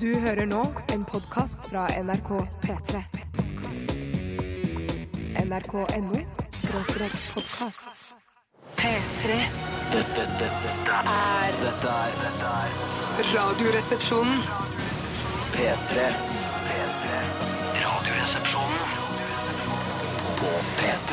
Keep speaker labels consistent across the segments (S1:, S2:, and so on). S1: Du hører nå en podkast fra NRK P3. NRK.no skråstrek podkast. P3
S2: Dette, dette, dette,
S1: er
S2: dette er dette er
S1: Radioresepsjonen.
S2: P3. P3. Radioresepsjonen på P3.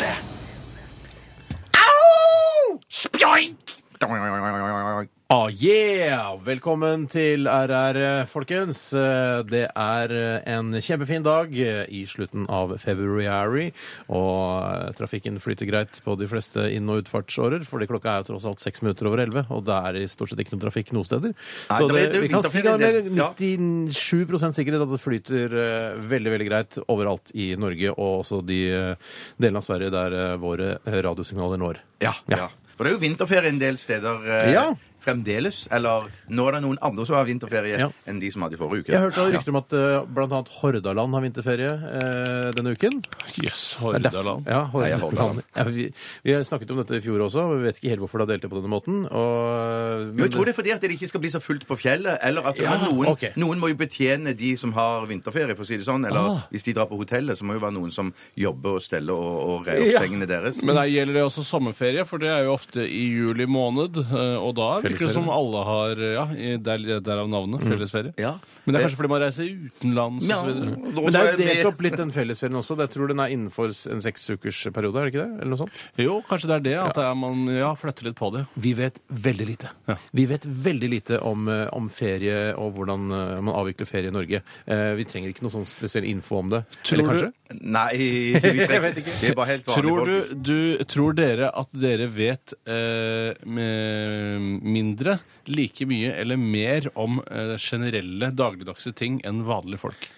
S3: Ah, yeah! Velkommen til RR, folkens. Eh, Det er eh, en kjempefin dag eh, i slutten av februari, og eh, trafikken flyter greit på de fleste inn- og utfartsårer, fordi klokka er jo tross alt seks minutter over elleve, og det er i stort sett ikke noe trafikk noe steder. Så
S4: det
S3: det,
S4: blir- det er jo
S3: vi kan
S4: fint
S3: si
S4: å finne
S3: det er
S4: en del- ja.
S3: 97 sikkerhet at det flyter eh, veldig, veldig greit overalt i Norge, og også de eh, delene av Sverige der eh, våre eh, radiosignaler når.
S4: Ja, ja. For det er jo vinterferie en del steder eh,
S3: Ja.
S4: fremdeles. Eller nå er det noen andre som har vinterferie
S3: Ja.
S4: enn de som hadde i forrige uke.
S3: Jeg hørte rykter om at eh, blant annet Hordaland har vinterferie eh, denne uken.
S5: Jøss,
S3: Det er derfor-
S5: Hordaland.
S3: Ja,
S4: Heia
S3: Hordaland.
S4: Hordaland.
S3: Ja, vi, vi har snakket om dette i fjor også, og vi vet ikke helt hvorfor det har delt det på denne måten. Og, eh,
S4: Jo, jeg tror det er fordi at det ikke skal bli så fullt på fjellet. Eller at det
S3: Ja,
S4: er noen,
S3: ok.
S4: noen må jo betjene de som har vinterferie, for å si det sånn. Eller
S3: Ah.
S4: hvis de drar på hotellet, så må jo være noen som jobber og steller og, og rer opp
S3: Ja.
S4: sengene deres.
S5: Men der gjelder det også sommerferie, for det er jo ofte i juli måned. eh, Og da virker det
S3: Fellesferie.
S5: som alle har Ja, i- der- derav navnet. Fellesferie.
S4: Ja.
S5: Men det
S3: Eh,
S5: er kanskje fordi man reiser utenlands
S4: Ja,
S5: og så videre.
S4: og da
S3: Men det er
S4: tror
S3: jo
S4: jeg vi-
S3: delt opp litt den fellesferien også. Jeg tror den er innenfor en seksukersperiode, periode, er det ikke det? Eller noe sånt?
S5: Jo, kanskje det er det. At det er man ja, flytter litt på det.
S3: Vi vet veldig lite. Vi vet veldig lite om, eh, om ferie og hvordan eh, man avvikler ferie i Norge. Eh, Vi trenger ikke noe sånn spesiell info om det.
S5: Tror
S3: Eller
S5: du-
S3: kanskje?
S4: Nei, vi trenger
S3: vet ikke.
S4: Vi er bare helt vanlige
S5: Tror,
S4: folk.
S5: du, du, tror dere at dere vet eh, med- mindre, like mye eller mer om eh, generelle dagligdagse ting enn vanlige folk?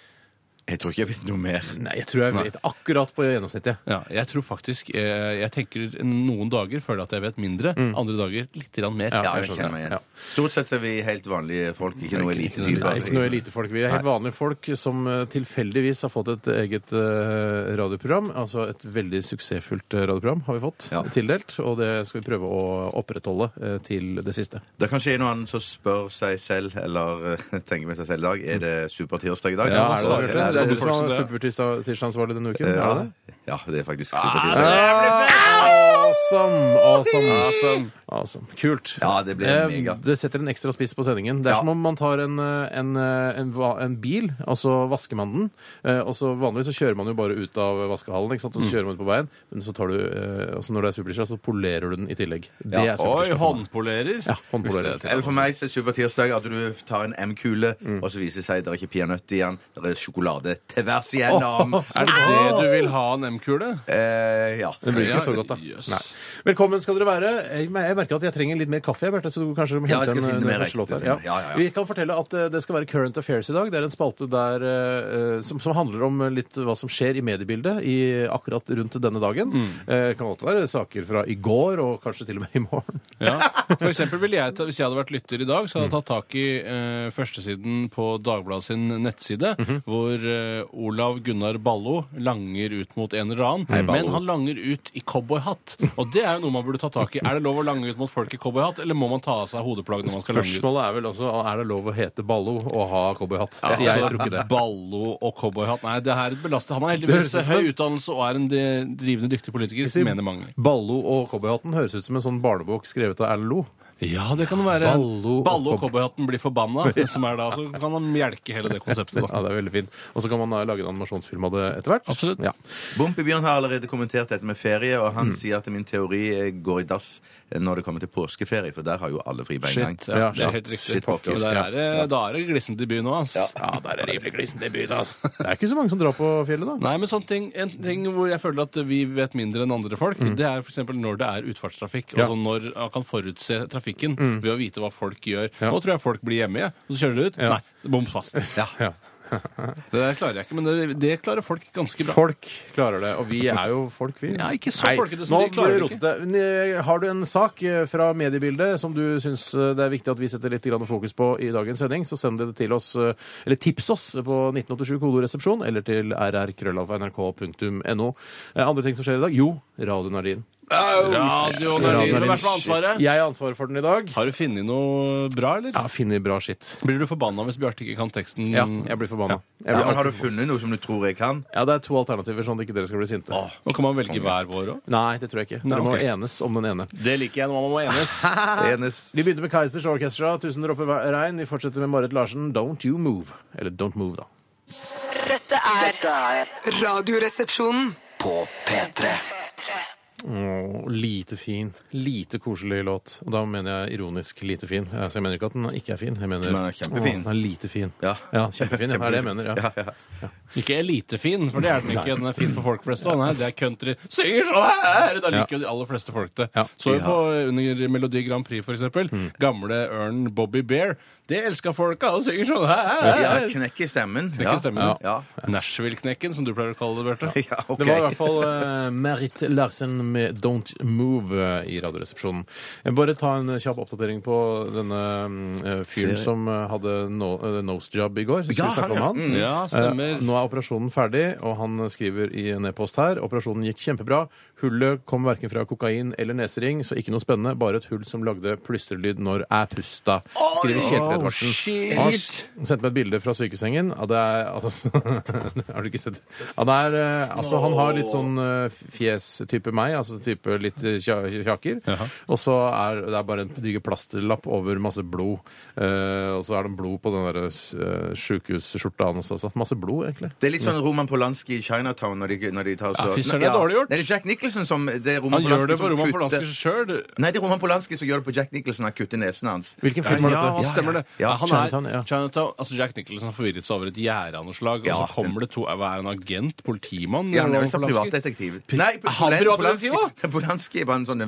S4: Jeg tror ikke jeg vet noe mer.
S3: Nei, jeg tror jeg vet akkurat på gjennomsnittet.
S5: Ja, jeg tror faktisk eh, Jeg tenker noen dager føler jeg at jeg vet mindre, andre dager litt grann mer.
S4: Ja,
S3: jeg
S4: jeg
S3: skjønner.
S4: kjenner meg
S3: Mm. Ja.
S4: igjen. Stort sett er vi helt vanlige folk, ikke noe
S3: Nei, ikke
S4: elitetyper.
S3: noe elitefolk. Vi er helt vanlige folk som eh, tilfeldigvis har fått et eget eh, radioprogram. Altså et veldig suksessfullt eh, radioprogram har vi fått
S4: Ja.
S3: tildelt, og det skal vi prøve å opprettholde eh, til det siste.
S4: Det er kanskje en og annen som spør seg selv, eller eh, tenker med seg selv i dag, er det supertirsdag i dag?
S5: Ja,
S3: Ja, er det
S5: altså,
S3: det, Bjarte?
S5: er
S3: Det
S5: det
S3: er du
S5: folk
S3: som
S5: som
S3: er
S5: det er?
S3: supertirsdagsansvarlig denne uken? Er
S4: Ja,
S3: det Ah, det?
S4: ja, det er faktisk supertirsdag.
S3: Awesome! Awesome.
S5: Awesome.
S3: Awesome. Kult.
S4: Ja, det blir
S3: Eh,
S4: mega.
S3: Det setter en ekstra spiss på sendingen. Det er
S4: Ja.
S3: som om man tar en, eh, en, eh, en, va- en bil, og så vasker man den. eh, Og så Vanligvis så kjører man jo bare ut av vaskehallen, ikke sant?
S4: Mm.
S3: og så kjører man ut på veien. Men så tar du, eh, altså når det er supertirsdag, så polerer du den i tillegg. Det
S4: Ja.
S3: er
S5: Oi,
S3: supertirsdag. for meg.
S5: håndpolerer.
S3: Ja, håndpolerer.
S5: Visste jeg.
S4: Eller for meg så er supertirsdag at du tar en M-kule,
S3: Mm.
S4: og så viser det seg det er ikke peanøtt i den, det er sjokolade tvers igjennom.
S5: Er det det du vil ha en M-kule?
S4: Eh, ja.
S3: Det blir ikke
S5: Ja,
S3: så godt, da.
S5: jøs.
S3: Nei. Velkommen skal dere være. Jeg mer- jeg merker at jeg trenger litt mer kaffe, Bjarte. Så du kanskje må
S4: Ja,
S3: hente
S4: jeg skal
S3: en,
S4: finne
S3: en
S4: mer
S3: første
S4: riktig
S3: låt her.
S4: ting.
S3: Ja.
S4: Ja, ja, ja.
S3: Vi kan fortelle at eh, det skal være Current Affairs i dag. Det er en spalte der, eh, eh, som, som handler om litt hva som skjer i mediebildet i, akkurat rundt denne dagen. Eh, kan godt være saker fra i går, og kanskje til og med i morgen.
S5: Ja. For eksempel ville jeg, ta- Hvis jeg hadde vært lytter i dag, så hadde jeg tatt tak i eh, førstesiden på Dagbladet sin nettside,
S3: Mhm.
S5: hvor eh, Olav Gunnar Ballo langer ut mot en eller annen, men han langer ut i cowboyhatt. Og det er jo noe man burde ta tak i. Er det lov å lange ut mot folk i cowboyhatt, eller må man ta av seg hodeplagg når man skal lange ut?
S3: Spørsmålet er vel også er det lov å hete Ballo og ha cowboyhatt.
S5: Ja,
S3: jeg
S5: altså,
S3: tror ikke det.
S5: Ballo og cowboyhatt. Nei, det her er et belastet. Han har
S3: Det
S5: heldigvis
S3: høres ut som
S5: høy
S3: en-
S5: utdannelse og er en de- drivende dyktig politiker,
S3: Jeg sier
S5: mener mange.
S3: Ballo og cowboyhatten høres ut som en sånn barnebok skrevet av Erlend Lo.
S5: Ja, det kan være.
S3: Ballo og
S5: Ballo og
S3: cow-
S5: cowboyhatten blir forbanna, som er da, så kan han mjelke hele det konseptet. da.
S3: Ja, det er veldig fint. Og så kan man eh, lage en animasjonsfilm av det etter hvert.
S5: Absolutt.
S3: Ja.
S4: Bompebjørn har allerede kommentert dette med ferie, og
S3: Mm.
S4: han sier at min teori eh, går i dass eh, når det kommer til påskeferie, for der har jo alle fri med en gang.
S5: Shit, ja,
S3: Ja,
S5: det
S3: shit,
S5: er helt riktig.
S4: shit,
S5: Pokker,
S4: pokker.
S5: men der er det, Da er det glissent i byen nå, ass.
S3: Ja, der er det rimelig glissent i byen, altså. Det er ikke så mange som drar på fjellet, da.
S5: Nei, men sånn ting, En ting hvor jeg føler at vi vet mindre enn andre folk, det er f.eks. når det er utfartstrafikk.
S3: Mm. Ja. Mm.
S5: Altså når man kan forutse trafikken ved å vite hva folk gjør. Nå tror jeg folk blir hjemme, jeg, og så kjører de ut.
S3: Ja.
S5: Nei, bom fast.
S3: Ja.
S5: Det der klarer jeg ikke, men det, det klarer folk ganske bra.
S3: Folk klarer det, og vi er jo folk, vi.
S5: Ja, ikke så folkete som
S3: nå
S5: de klarer
S3: blir
S5: det
S3: rotete. Men, eh, Har du en sak eh, fra mediebildet som du syns eh, det er viktig at vi setter litt grann fokus på i dagens sending, så send det til oss, eh, eller tips oss på 1987 kodoresepsjon eller til rrkrøllalfa.nrk.no. Eh, Andre ting som skjer i dag? Jo, radioen er din.
S5: Radioen er din. Hvem er som har ansvaret?
S3: Jeg har ansvaret for den i dag.
S5: Har du funnet noe bra, eller?
S3: Jeg har funnet bra skitt.
S5: Blir du forbanna hvis Bjarte ikke kan teksten?
S3: Ja, jeg blir forbanna. Jeg
S4: Ja,
S3: blir
S4: men har
S3: alltid
S4: du funnet noe som du tror jeg kan?
S3: Ja, det er to alternativer, sånn at ikke dere skal bli sinte.
S5: Nå kan man velge hver vår òg.
S3: Nei, det tror jeg ikke. Dere
S5: Nei,
S3: må
S5: ok.
S3: enes om den ene.
S5: Det liker jeg når man må enes.
S4: Enes.
S3: Vi begynte med Kaizers Orchestra, 'Tusen dråper hver regn'. Vi fortsetter med Marit Larsen, 'Don't You Move'. Eller 'Don't Move', da.
S2: Dette er
S6: Dette er
S2: Radioresepsjonen.
S6: på P3.
S3: Åh, lite fin. Lite koselig låt. Og da mener jeg ironisk lite fin. Eh, Så jeg mener ikke at den ikke er fin. Jeg mener,
S4: Men den er kjempefin.
S3: Åh, den er lite fin.
S4: Ja.
S3: kjempefin. Ja, det er det jeg mener. Ja.
S5: Ikke elitefin, for det er den ikke. Den er fin for folk flest. da. Nei, det er country. Synger så her! Da liker jo de aller fleste folk det.
S3: Ja.
S5: Så vi på under Melodi Grand Prix, for eksempel. Gamle Ørn Bobby Bear. Det elska folka! Og synger sånn
S4: Ja,
S5: her!
S4: knekk i stemmen.
S5: Knekk i stemmen.
S4: Ja. Ja.
S5: Nashville-knekken, som du pleier å kalle det, Bjarte.
S4: Ja, ok.
S3: Det var i hvert fall eh, Marit Larsen med 'Don't Move' eh, i Radioresepsjonen. Jeg bare ta en kjapp oppdatering på denne eh, fyren
S4: Ser-
S3: som eh, hadde no, eh, nose job i går. Skulle
S4: Ja,
S3: vi snakke om
S4: han, ja.
S3: han?
S5: Ja,
S3: Eh,
S5: stemmer.
S3: Nå er operasjonen ferdig, og han skriver i en e-post her operasjonen gikk kjempebra. Hullet kom verken fra kokain eller nesering, så ikke noe spennende. Bare et hull som lagde plystrelyd når jeg pusta. Skriver Kjetil Edvardsen.
S5: shit!
S3: Han s- sendte meg et bilde fra sykesengen. Ja, det er, altså, har du ikke sett det? Ja, det er, eh, altså, han har litt sånn eh, fjes-type meg, altså type litt eh, kja- kjaker. Og så er det er bare en diger plasterlapp over masse blod. Eh, og så er det blod på den der uh, sjukehusskjorta hans også. Masse blod, egentlig.
S4: Det er litt sånn Roman Polanski i Chinatown når de, når de tar så
S5: Ja, fy søren, det er dårlig gjort.
S4: Nei, Det er Jack Nicholson som det er Roman
S5: Han gjør det på
S4: Polanski som
S5: Roman
S4: kutter-
S5: Polanski sjøl.
S4: Nei, det er Roman Polanski som gjør det på Jack Nicholson. Han kutter nesen hans.
S3: Hvilken film
S5: Ja,
S3: er
S5: ja,
S3: dette?
S5: ja, stemmer det.
S4: ja.
S5: han
S3: Chinatown,
S5: er,
S3: ja.
S5: Chinatown, altså Jack Nicholson har forvirret seg over et gjerde av noe slag,
S4: Ja,
S5: og så kommer det to Hva er han, agent? Politimann?
S4: Ja, han
S5: eller
S4: er vel så
S5: noe Polanski?
S4: privatdetektiv. Nei,
S5: Er han
S4: Polan-
S5: privatdetektiv
S4: Polanski- Polanski er bare en sånn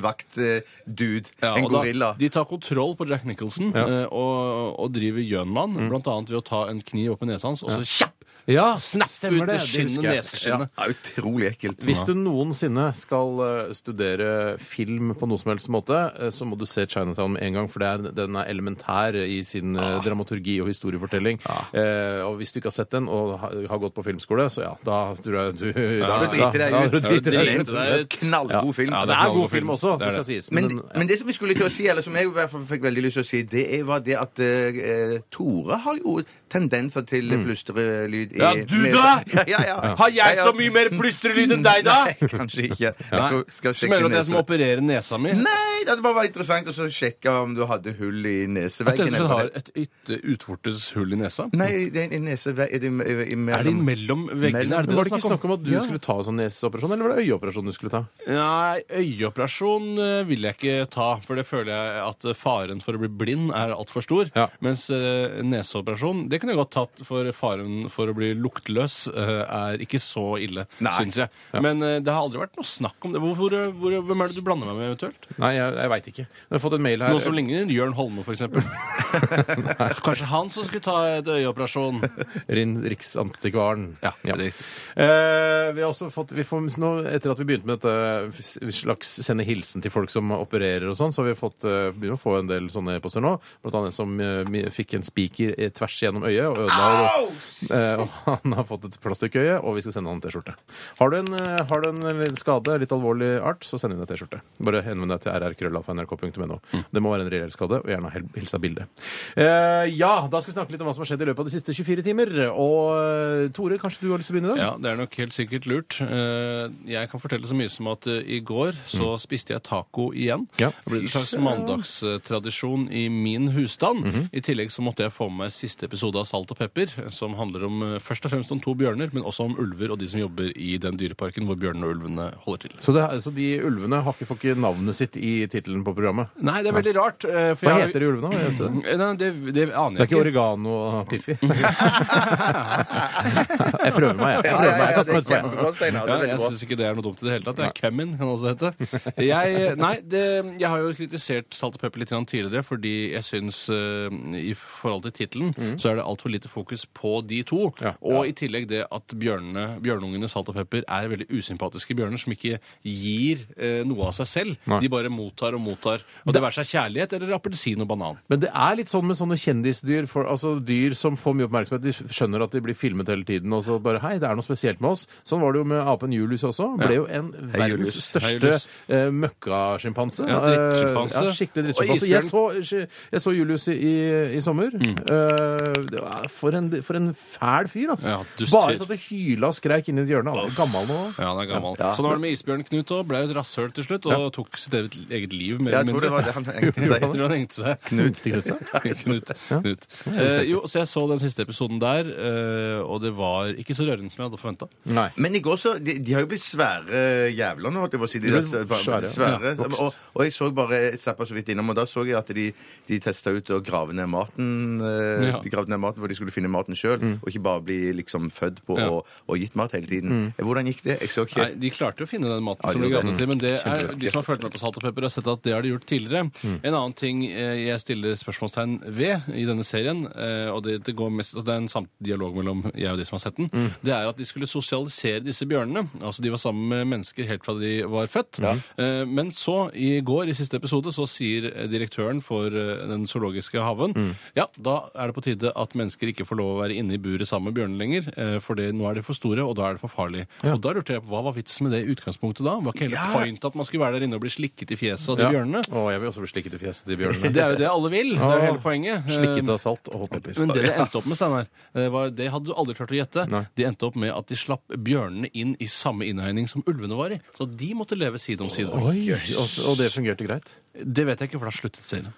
S4: vaktdude.
S5: Ja,
S4: en
S5: og da-
S4: gorilla.
S5: de tar kontroll på Jack Nicholson eh, og, og driver gjønmann,
S4: Mm.
S5: blant annet ved å ta en kniv opp i nesa hans, og så kjapp!
S3: Ja,
S5: Snapp
S3: stemmer
S5: ut det
S3: husker
S5: skinnet,
S3: jeg.
S5: neseskinnet.
S4: Ja, utrolig ekkelt.
S3: Hvis du noensinne skal eh, studere film på noe som helst måte, eh, så må du se Chinatown med en gang, for det er, den er elementær i sin eh,
S5: Ah.
S3: dramaturgi og historiefortelling. Eh, og hvis du ikke har sett den og ha- har gått på filmskole, så ja, da tror jeg du Da
S4: har du driti deg
S3: da har
S4: ut.
S3: du
S4: Da
S5: har du
S3: driti deg
S5: driti
S3: ut.
S5: deg ut.
S4: Knallgod film.
S5: Ja, det
S3: Ja, det
S5: er
S3: er
S5: knallgod
S3: god film
S5: film.
S3: også,
S5: Det er
S3: det
S5: det.
S3: skal sies.
S4: Men,
S3: den- ja.
S4: men det som jeg skulle til å si, eller som jeg i hvert fall fikk veldig lyst til å si, det er, var det at eh, Tore har jo tendenser til plystrelyd i
S5: Mm. Ja, du
S4: nesa.
S5: da!
S4: Ja, ja, ja.
S5: Har jeg
S4: Ja, ja.
S5: så mye mer plystrelyd enn deg, da?!
S4: Nei, kanskje ikke. Jeg tror, skal
S5: Så
S4: sjekke
S5: mener du at jeg
S4: nesa.
S5: som opererer nesa mi
S4: Nei, det hadde bare vært interessant å så sjekke om du hadde hull i
S5: At
S4: neseveggen.
S5: jeg
S4: eller-
S5: har et ytte utvortes hull i nesa?
S4: Nei, det er i neseveggen er det i- i- i-
S5: Er det
S4: mellom-
S5: mellom veggene? Er det det
S3: Var
S5: det
S3: det
S5: er
S3: ikke snakk om at du skulle ta sånn neseoperasjon, eller var det øyeoperasjon du skulle ta?
S5: Nei, øyeoperasjon eh, vil jeg ikke ta, for det føler jeg at eh, faren for å bli blind er altfor stor.
S3: Ja.
S5: Mens eh, neseoperasjon, det kunne jeg godt tatt, for faren for å bli luktløs eh, er ikke så ille, syns jeg. Men eh, det har aldri vært noe snakk om det. Hvor, hvor, hvor, hvem er det du blander meg med eventuelt?
S3: Nei, jeg, jeg veit ikke. Jeg har fått en mail her.
S5: Noe som ligner Jørn Holme, for eksempel. Kanskje han som skulle ta et øyeoperasjon?
S3: Rin- Riksantikvaren.
S5: Ja, det er
S3: Eh, vi har også fått vi får, nå, Etter at vi begynte med dette s- slags sende hilsen til folk som opererer og sånn, så har vi fått, eh, begynner å få en del sånne e-poster nå. Blant annet en som eh, mi- fikk en spiker eh, tvers gjennom øyet og
S5: Ah!
S3: ødela det. Eh, og han har fått et plastikkøye, og vi skal sende han en T-skjorte. Har, du en, eh, har du en litt skade, litt alvorlig art, så sender vi deg T-skjorte. Bare henvend deg til rrkrøllalfa.nrk.no. Det må være en reell skade, og gjerne hel- hils av bildet. Eh, ja, da skal vi snakke litt om hva som har skjedd i løpet av de siste 24 timer. Og eh, Tore, kanskje du har lyst til å begynne? i dag?
S5: Ja, det er nok helt sikkert lurt. Eh, Jeg kan fortelle så mye som at eh, i går så spiste jeg taco igjen.
S3: Ja.
S5: Det ble en slags mandagstradisjon i min husstand. I tillegg så måtte jeg få med meg siste episode av Salt og pepper, som handler om eh, først og fremst om to bjørner, men også om ulver og de som jobber i den dyreparken hvor bjørnene og ulvene holder til.
S3: Så, det, er- så de ulvene har ikke fått ikke navnet sitt i tittelen på programmet?
S5: Nei, det er veldig rart. eh,
S3: Hva heter de ulvene? Hva heter det?
S5: Nei, det, det aner
S3: Det
S5: jeg
S3: er ikke oregano og Piffi? jeg prøver meg, jeg. jeg, prøver meg.
S4: Ja, ja, ja,
S3: jeg
S4: ja, det
S3: kaster meg ut
S4: er
S3: på meg.
S4: kjempebra, Steinar. Det
S5: Ja,
S4: er veldig
S5: jeg
S4: bra.
S5: syns ikke det er noe dumt i det hele tatt. Det er Kemin, kan det også hete. Jeg, nei, det, jeg har jo kritisert Salt og pepper litt grann tidligere, fordi jeg syns eh, i forhold til tittelen
S4: Mm.
S5: så er det altfor lite fokus på de to.
S3: Ja.
S5: Og i tillegg det at bjørnene, bjørnungene Salt og pepper er veldig usympatiske bjørner som ikke gir eh, noe av seg selv.
S3: Nei.
S5: De bare mottar og mottar. Og det være seg kjærlighet eller appelsin og banan.
S3: Men det er litt sånn med sånne kjendisdyr. For, altså Dyr som får mye oppmerksomhet. De skjønner at de blir filmet hele tiden. Og så bare Hei, det er noe spesielt med oss. Sånn var det jo med apen Julius også. Ble jo en verdens
S4: Julius.
S5: Hei,
S3: største
S5: Julius.
S3: eh, møkkasjimpanse.
S5: Ja, drittsjimpanse.
S3: Eh, Ja,
S5: Og
S3: skikkelig drittsjimpanse. Jeg, så- jeg så Julius i, i, i sommer.
S5: Mm.
S3: Eh, det var for, en, for en fæl fyr, altså.
S5: Ja, dust fyr.
S3: Bare satt og hyla og skreik inni et hjørne. Han var gammel nå.
S5: Ja, han er gammel. Sånn var det med isbjørn Knut òg. Ble jo et rasshøl til slutt og tok sitt eget, eget liv. Mer
S4: Jeg
S5: eller
S4: tror
S5: mindre.
S4: det var det han tenkte seg.
S5: Jeg tror han hengte seg. Knut. Knut. Knut. Eh, jo, så jeg så den siste episoden der, eh, og det var ikke så rørende som jeg hadde forventa.
S3: Nei.
S4: Men i går så, de, de har jo blitt svære jævler nå. holdt jeg på å si. De,
S3: De
S4: der
S3: ble
S4: s-
S3: svære,
S4: svære.
S3: ja, vokst.
S4: og, og jeg så bare jeg zappa så vidt innom, og da så jeg at de, de testa ut å grave ned maten. eh,
S5: Ja.
S4: De gravde ned maten For de skulle finne maten sjøl,
S3: Mm.
S4: og ikke bare bli liksom født på
S5: Ja.
S4: og, og gitt mat hele tiden.
S3: Mm.
S4: Eh, Hvordan gikk det? Jeg så ikke.
S5: Nei, De klarte å finne den maten
S4: Ja,
S5: som
S4: de
S5: ble
S4: gjorde
S5: gravd
S4: det.
S5: til, men det er,
S4: Kjempegodt.
S5: de som har fulgt med på Salt og Pepper, har sett at det har de gjort tidligere. En annen ting eh, jeg stiller spørsmålstegn ved i denne serien, eh, og det, det, går mest, altså det er en samt dialog mellom jeg og de som har sett den, det er at de skulle sosialisere disse bjørnene. Altså De var sammen med mennesker helt fra de var født. Eh, Men så, i går, i siste episode, så sier eh, direktøren for eh, den zoologiske haven ja, da er det på tide at mennesker ikke får lov å være inne i buret sammen med bjørnene lenger, eh, for det, nå er de for store, og da er det for farlig. Og da lurte jeg på hva var vitsen med det i utgangspunktet da? Var ikke hele pointet at man skulle være der inne og bli slikket i fjeset av de
S3: Ja.
S5: bjørnene?
S3: Å, jeg vil også bli slikket i fjeset til bjørnene.
S5: Det er jo det alle vil. Det er jo hele poenget.
S3: Slikket
S5: Eh,
S3: av salt og pepper.
S5: men det det endte opp med, Steinar, eh, var- det hadde du aldri klart å gjette. De endte opp med at de slapp bjørnene inn i samme innhegning som ulvene var i. Så de måtte leve side om side.
S3: Oi, og, og det fungerte greit?
S5: Det vet jeg ikke, for da sluttet serien.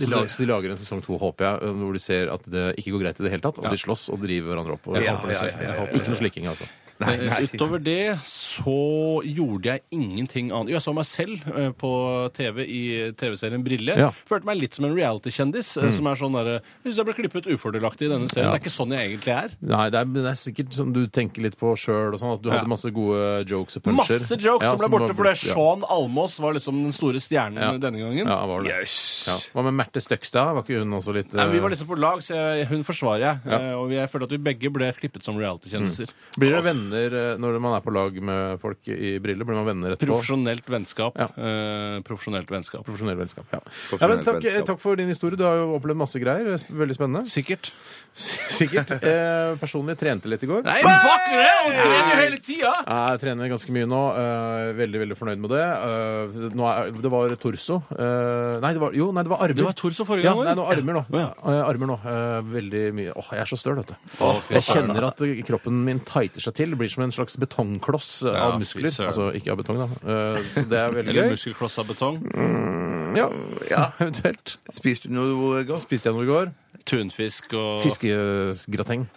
S3: De lager, så de lager en sesong to, håper jeg, eh, hvor de ser at det ikke går greit i det hele tatt. Og
S5: Ja.
S3: de slåss og driver hverandre opp. Og
S4: Ja,
S3: håper det
S4: ja,
S3: ser-
S4: ja, ja, ja,
S3: håper- Ikke noe slikking, altså.
S4: Nei, nei.
S5: Eh, Utover det så gjorde jeg ingenting annet. Jo, Jeg så meg selv eh, på TV i TV-serien Brille.
S3: Ja.
S5: Følte meg litt som en reality-kjendis. eh, Som er sånn der, eh, Jeg syns jeg ble klippet ufordelaktig i denne serien. Det er ikke sånn jeg egentlig er.
S3: Nei, det er, men det er sikkert sånn du tenker litt på sjøl og sånn, at du
S5: Ja.
S3: hadde masse gode jokes og puncher.
S5: Masse jokes
S3: Ja,
S5: som ble borte
S3: var-
S5: fordi
S3: ja.
S5: Sean Almås var liksom den store stjernen
S3: Ja.
S5: denne gangen.
S3: Ja, var det. Ja. Hva med Merte Støkstad? Var ikke hun også litt
S5: Nei, vi
S3: eh,
S5: var liksom på lag, så jeg, hun forsvarer jeg. eh, Og jeg føler at vi begge ble klippet som reality-kjendiser.
S3: Mm. Blir dere venner eh, når man er på lag med folk i briller? Blir man venner etterpå?
S5: Profesjonelt vennskap.
S3: Ja.
S5: eh, Profesjonelt vennskap.
S3: Profesjonell vennskap. Ja. ja, men takk,
S4: vennskap.
S3: takk for din historie. Du har jo opplevd masse greier. Veldig spennende.
S5: Sikkert.
S3: Sikkert. Eh, personlig trente litt i går.
S5: Nei, fuck det! Og det er jo hele tida!
S3: Jeg trener ganske mye nå. eh, veldig veldig fornøyd med det. Eh, nå er, det var torso. Eh, nei, det var, jo, nei, det var armer.
S5: Det var torso forrige
S3: ja,
S5: gang,
S3: Nei, nå
S5: var det?
S3: armer nå.
S5: Ja.
S3: Eh, armer nå. Eh, veldig mye. Åh, jeg er så støl, vet du. jeg kjenner at kroppen min tighter seg til. Blir som en slags betongkloss eh,
S5: Ja,
S3: av muskler.
S5: fy søren.
S3: Altså ikke av betong, da. Eh, så det er veldig
S5: Eller
S3: gøy. Mm.
S5: muskelkloss av betong.
S3: Ja, ja, eventuelt.
S4: Spiste du noe godt?
S3: Spiste jeg noe i går?
S5: Tunfisk og
S3: Fiskegrateng.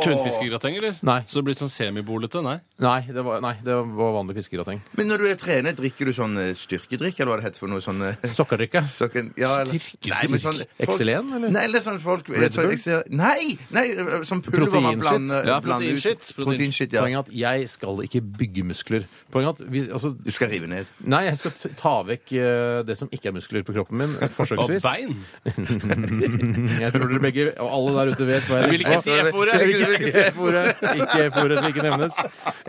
S5: Tunfiskegrateng, eller?
S3: Nei.
S5: Så det blir sånn semibolete? Nei.
S3: Nei, det var, nei, det var vanlig fiskegrateng.
S4: Men når du er trener, drikker du sånn eh, styrkedrikk, eller hva det heter for noe sånn eh,
S3: Sokkerdrikke.
S4: Styrke ja, eller- Nei, men sånn- folk-
S3: Excelen, eller?
S4: Nei, eller sånn folk
S3: Bull?
S4: jeg tror jeg ser, Nei! nei sånn pulver man
S3: Proteinshit?
S4: blander
S5: Ja,
S4: blander ut.
S5: proteinshit, protein-
S4: Proteinshit, ja.
S3: Poenget er at jeg skal ikke bygge muskler. Poenget er at vi, altså,
S4: Du skal rive ned.
S3: Nei, jeg skal t- ta vekk eh, det som ikke er muskler på kroppen min,
S5: Og
S3: forsøksvis.
S5: bein?
S3: Jeg tror dere begge, og alle der ute vet hva jeg
S5: Jeg vil ikke si F-ordet.
S3: Jeg vil ikke si F-ordet. Ikke F-ordet som ikke nevnes.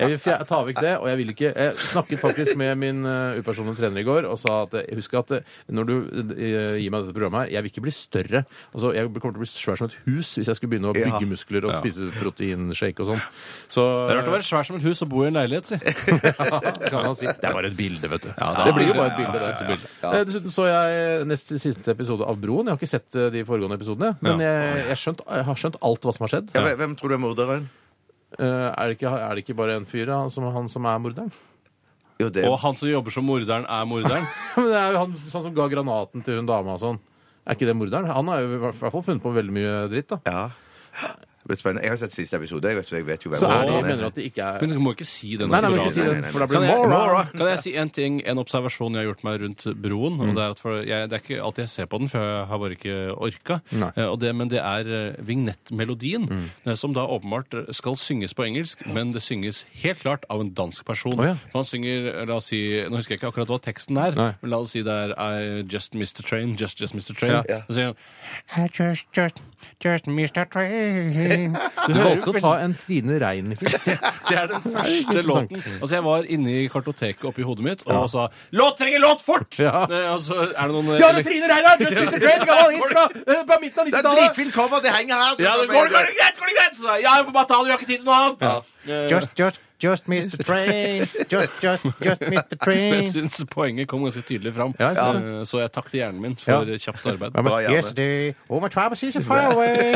S3: Jeg vil fjer- ta vekk det, og jeg vil ikke Jeg snakket faktisk med min eh, upersonlige trener i går og sa at eh, husk at eh, når du eh, gir meg dette programmet her, jeg vil ikke bli større. Altså, jeg kommer til å bli svær som et hus hvis jeg skulle begynne å
S4: Ja.
S3: bygge muskler og
S5: Ja.
S3: spise proteinshake og sånn. Så
S5: Det er rart å være svær som et hus og bo i en leilighet, si.
S3: kan han si. Det er bare et bilde, vet du.
S5: det
S3: det,
S5: er-
S3: blir jo bare et bilde. det. Eh, Dessuten så jeg nest siste episode av Broen. Jeg har ikke sett eh, de foregående episodene, men jeg, jeg, skjønt, jeg har skjønt alt hva som har skjedd.
S4: Ja, hvem- Hvem tror du er morderen?
S3: Eh, Er det ikke, er det ikke bare en fyr, da, som, han som er morderen?
S4: Jo, det
S5: Og han som jobber som morderen, er morderen.
S3: Men det er jo han sånn som ga granaten til hun dama og sånn. Er ikke det morderen? Han har jo i hvert fall funnet på veldig mye dritt, da.
S4: Ja. Det blir spennende. Jeg har sett siste episode. Jeg vet, så jeg vet jo hvem
S3: Så er de,
S4: morderen
S3: mener at de ikke er
S5: Men du må ikke si det.
S3: Nei, nei,
S5: når
S3: men
S5: du
S3: ikke
S5: sa
S3: si
S5: det.
S3: det, for da blir
S5: Kan
S3: det
S5: jeg,
S3: moron.
S5: kan jeg si en ting, en observasjon jeg har gjort meg rundt broen?
S3: Mm.
S5: og Det er, at for jeg, det er ikke alltid jeg ser på den, for jeg har bare ikke orka.
S3: Nei. Mm.
S5: Eh, og det, men det er eh, vignettmelodien, eh, som da åpenbart skal synges på engelsk, men det synges helt klart av en dansk person.
S3: Å, ja.
S5: Han synger, eh, la oss si, Nå husker jeg ikke akkurat hva teksten er,
S3: Nei.
S5: men la oss si det er I just missed the train, just just missed the train.
S3: Ja.
S5: Da sier han
S7: I just, just, just missed a train.
S8: Du valgte å ta en Trine Rein-vits.
S5: Det er den første
S8: interessant.
S5: låten. Altså, jeg var inne i kartoteket oppi hodet mitt og sa 'Låt trenger låt, fort!'
S8: Ja.
S5: Eh, Og så er det noen
S8: Ja, det er Trine Rein her! Just Mr. Trade, gammel hit fra eh, på midten av
S4: Det er
S8: 90-tallet!
S4: dritfint cover! Det henger her!
S5: Ja, det går, går det greit? Går det greit? Så sa jeg, ja, jeg får bare ta det, vi har ikke tid til noe annet. Eh,
S8: Just, just, just Mr. Train. Just, just, just Mr.
S5: men jeg
S8: Train.
S5: syns poenget kom ganske tydelig fram,
S8: Ja, jeg synes
S5: Eh, så jeg takket hjernen min for
S8: Ja.
S5: kjapt arbeid.
S8: Ja, men,
S4: Bra, Janne.
S8: yes, the, oh, my troubles is far away.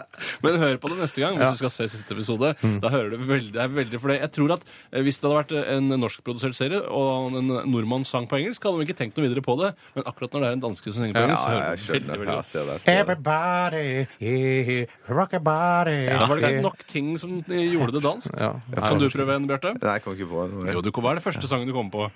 S5: Men hør på det neste gang hvis du skal se siste episode.
S8: Mm.
S5: Da hører du veldig, det er veldig for det. Jeg tror at eh, Hvis det hadde vært en norskprodusert serie, og en nordmann sang på engelsk, hadde de ikke tenkt noe videre på det. Men akkurat når det er en danske som synger på engelsk, så
S4: Ja,
S5: hører
S4: jeg
S5: du veldig,
S4: skjønner.
S5: veldig
S4: Ja,
S5: godt.
S4: ser det. ser det.
S8: Everybody, yeah, rock a body.
S5: Da var det ikke nok ting som gjorde det dansk.
S8: Ja.
S5: Kan du prøve en, Bjarte?
S4: Nei, jeg kom ikke på noe.
S5: Jo, du, hva er det første sangen du kommer på?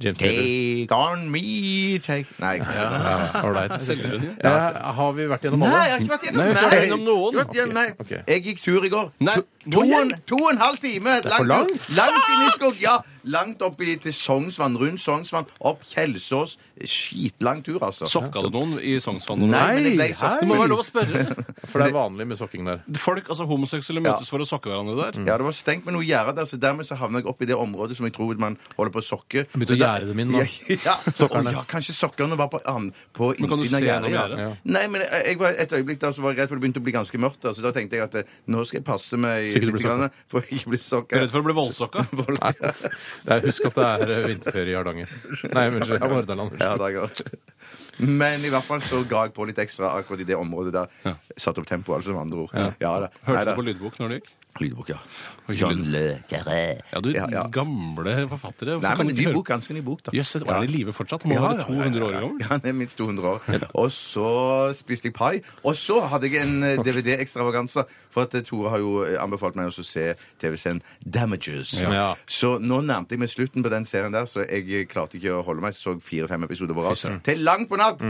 S8: James Taylor.
S4: Take on me, take Nei.
S8: Ålreit.
S5: Selvironi?
S8: Ja, har vi vært gjennom
S4: Nei,
S8: alle?
S4: jeg har ikke vært gjennom
S5: Nei, vi har ikke vært gjennom noen.
S4: Jeg har ikke vært gjennom- Nei.
S8: Ok, ok.
S4: Jeg gikk tur i går.
S5: Nei,
S4: To-
S5: nå
S4: to, og en,
S5: igjen?
S4: to og en halv time. Det
S8: for langt.
S4: Langt inn i skog. Ja, langt opp i, til Sognsvann. Rundt Sognsvann. Opp Kjelsås. Skitlang tur, altså.
S5: Sokka du noen i Sognsvann?
S4: Nei, men jeg ble
S8: Nei,
S4: sokken.
S5: Det må være lov å spørre.
S8: For det er vanlig med sokking der.
S5: Folk, altså Homoseksuelle
S4: Ja.
S5: møtes for å sokke hverandre der.
S8: Mm.
S4: Ja, det var stengt med noe gjerde der, så dermed så havna jeg opp i det området som jeg tror man holder på å sokke.
S8: Begynte å
S4: Så der-
S8: gjerde dem inn, da.
S4: Ja, ja.
S8: Sokkerne.
S4: Å, ja, kanskje sokkerne var på, an, på
S5: Men kan du
S4: innsiden
S5: se
S4: av gjerdet.
S5: gjennom
S4: ja.
S5: gjerdet?
S4: Nei, men jeg, jeg var et øyeblikk der så var jeg redd for det begynte å bli ganske mørkt. Da, så da tenkte jeg at eh, nå skal jeg passe meg
S8: Så ikke du blir
S4: litt, grann, for jeg ikke blir sokka.
S5: Jeg er Redd for å bli voldsokka.
S8: Nei, jeg husker at det er eh, vinterferie i Hardanger. Nei, unnskyld. Ja, Hordaland.
S4: Ja,
S8: unnskyld.
S4: det er godt. Men i hvert fall så ga jeg på litt ekstra akkurat i det området der. Satt opp tempoet, altså, med andre ord. Ja. da. Nei,
S5: Hørte
S4: da.
S5: du på lydbok når du gikk?
S4: lydbok, ja.
S5: John Ja, du,
S4: Ja, ja.
S5: gamle forfattere. hvorfor
S4: Nei,
S5: kan
S4: men
S5: du ikke
S4: ny
S5: høre-
S4: bok, ganske ny bok, da.
S5: Jøss, er
S4: Ja.
S5: han i live fortsatt? Han må
S4: Ja,
S5: være
S4: ja, ja, ja,
S5: 200 år
S4: ja.
S5: gammel.
S4: Ja, han er minst 200 år. Og så spiste jeg pai. Og så hadde jeg en eh, DVD-ekstravaganse, for at eh, Tore har jo eh, anbefalt meg også å se TV-serien Damages.
S8: Ja.
S4: Så nå nærmte jeg meg slutten på den serien der, så jeg eh, klarte ikke å holde meg. Så fire-fem episoder på rad. Til langt på natt!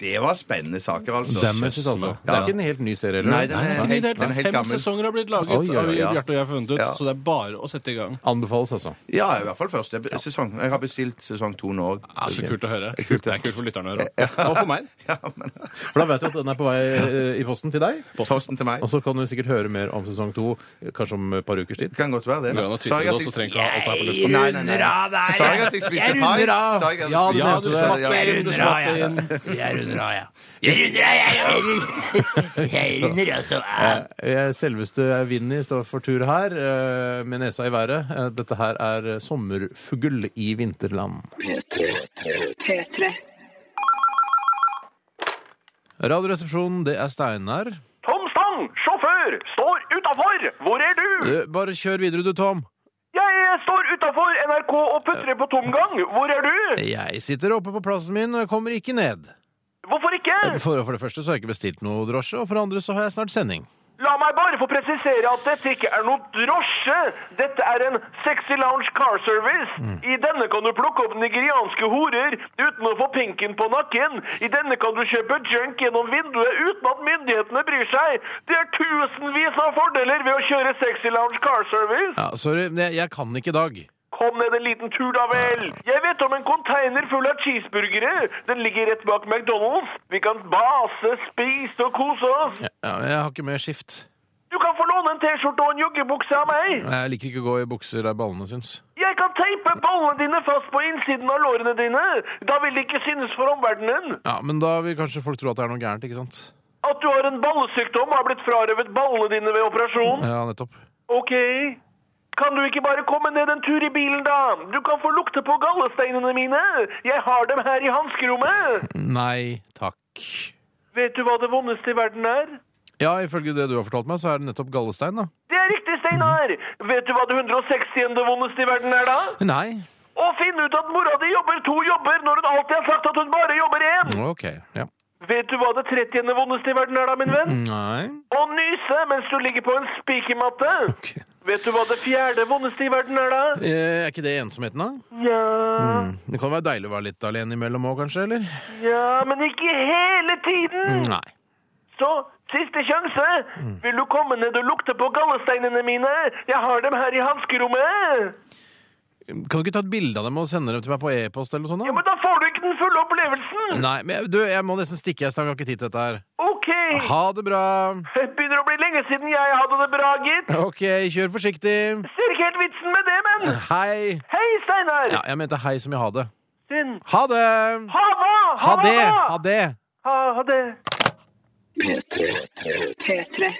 S4: Det var spennende saker, altså.
S8: Damages, altså. Det er ikke en helt ny serie, eller?
S4: Nei, den
S5: Det
S4: er
S5: er
S4: helt,
S5: helt,
S4: den er helt
S5: Fem
S4: gammel.
S5: sesonger har blitt laget
S8: Oi, oi, oi,
S5: av
S4: ja.
S5: Bjarte og jeg har funnet ut,
S4: Ja.
S5: så det er bare å sette i gang.
S8: Anbefales, altså.
S4: Ja, i hvert fall første ep- sesong. Jeg har bestilt sesong to nå òg.
S5: Ja, så kult å høre. Det er kult for lytterne å høre. Og for meg.
S8: For da vet du at den er på vei eh, i posten til deg.
S4: Posten til meg.
S8: Og så kan du sikkert høre mer om sesong to, kanskje om et par ukers tid.
S4: Det kan godt være det.
S5: Ja, nå
S4: Sa
S5: tvitter du,
S4: jeg at jeg-
S5: så trenger ikke ha alt her på lufta.
S4: Nei, nei, nei. Sa jeg at jeg spiste pai? Sa jeg at jeg
S8: Ja, du
S4: spiste-
S5: Ja, du
S8: mente
S5: smatt
S4: Ja,
S5: det inn. Du smatt det inn.
S8: Eh, Selveste Vinni står for tur her, eh, med nesa i været. Eh, Dette her er sommerfugl i vinterland.
S9: P3.
S8: Radioresepsjonen, det er Steinar.
S10: Tom Stang, sjåfør, står utafor! Hvor er du?
S8: Du, Bare kjør videre du, Tom.
S10: Jeg står utafor NRK og putrer på tomgang. Hvor er du?
S8: Jeg sitter oppe på plassen min og jeg kommer ikke ned.
S10: Hvorfor ikke?
S8: For, for det første så har jeg ikke bestilt noe drosje, og for det andre så har jeg snart sending.
S10: La meg bare få presisere at dette ikke er noe drosje. Dette er en sexy lounge car service. I denne kan du plukke opp nigerianske horer uten å få pinken på nakken. I denne kan du kjøpe junk gjennom vinduet uten at myndighetene bryr seg. Det er tusenvis av fordeler ved å kjøre sexy lounge car service.
S8: Ja, Sorry, men jeg, jeg kan ikke i dag.
S10: Kom ned en liten tur, da vel. Jeg vet om en container full av cheeseburgere. Den ligger rett bak McDonald's. Vi kan base, spise og kose oss.
S8: Jeg, jeg har ikke mer skift.
S10: Du kan få låne en T-skjorte og en joggebukse av meg.
S8: Jeg liker ikke å gå i bukser der ballene syns.
S10: Jeg kan teipe ballene dine fast på innsiden av lårene dine. Da vil det ikke synes for omverdenen.
S8: Ja, Men da vil kanskje folk tro at det er noe gærent, ikke sant?
S10: At du har en ballesykdom har blitt frarøvet ballene dine ved operasjon.
S8: Ja, nettopp.
S10: Ok. Kan du ikke bare komme ned en tur i bilen, da? Du kan få lukte på gallesteinene mine. Jeg har dem her i hanskerommet.
S8: Nei takk.
S10: Vet du hva det vondeste i verden er?
S8: Ja, ifølge det du har fortalt meg, så er det nettopp gallestein, da.
S10: Det er riktig, Steinar! Vet du hva det 160. vondeste i verden er, da?
S8: Nei.
S10: Å finne ut at mora di jobber to jobber når hun alltid har sagt at hun bare jobber én!
S8: OK. Ja.
S10: Vet du hva det 30. vondeste i verden er, da, min venn?
S8: Nei.
S10: Å nyse mens du ligger på en spikermatte!
S8: Ok.
S10: Vet du hva det fjerde vondeste i verden er, da?
S8: Eh, Er ikke det ensomheten, da?
S10: Ja
S8: Det kan være deilig å være litt alene imellom òg, kanskje? eller?
S10: Ja, men ikke hele tiden!
S8: Nei.
S10: Så siste sjanse! Vil du komme ned og lukte på gallesteinene mine? Jeg har dem her i hanskerommet!
S8: Kan du ikke ta et bilde av dem og sende dem til meg på e-post? eller noe sånt da?
S10: Ja, men da får du ikke den fulle opplevelsen!
S8: Nei, men jeg- du, jeg må nesten stikke. Jeg har ikke tid til dette her.
S10: Ok, OK!
S8: Ha det bra.
S10: Begynner å bli lenge siden jeg hadde det bra, gitt.
S8: OK, kjør forsiktig.
S10: Ser ikke helt vitsen med det, men.
S8: Hei.
S10: Hei, Steinar.
S8: Ja, jeg mente hei som i ha det.
S10: Synd.
S8: Ha det!
S10: Ha hva?
S8: Ha det! Ha det!
S10: Ha, ha det.
S1: P3.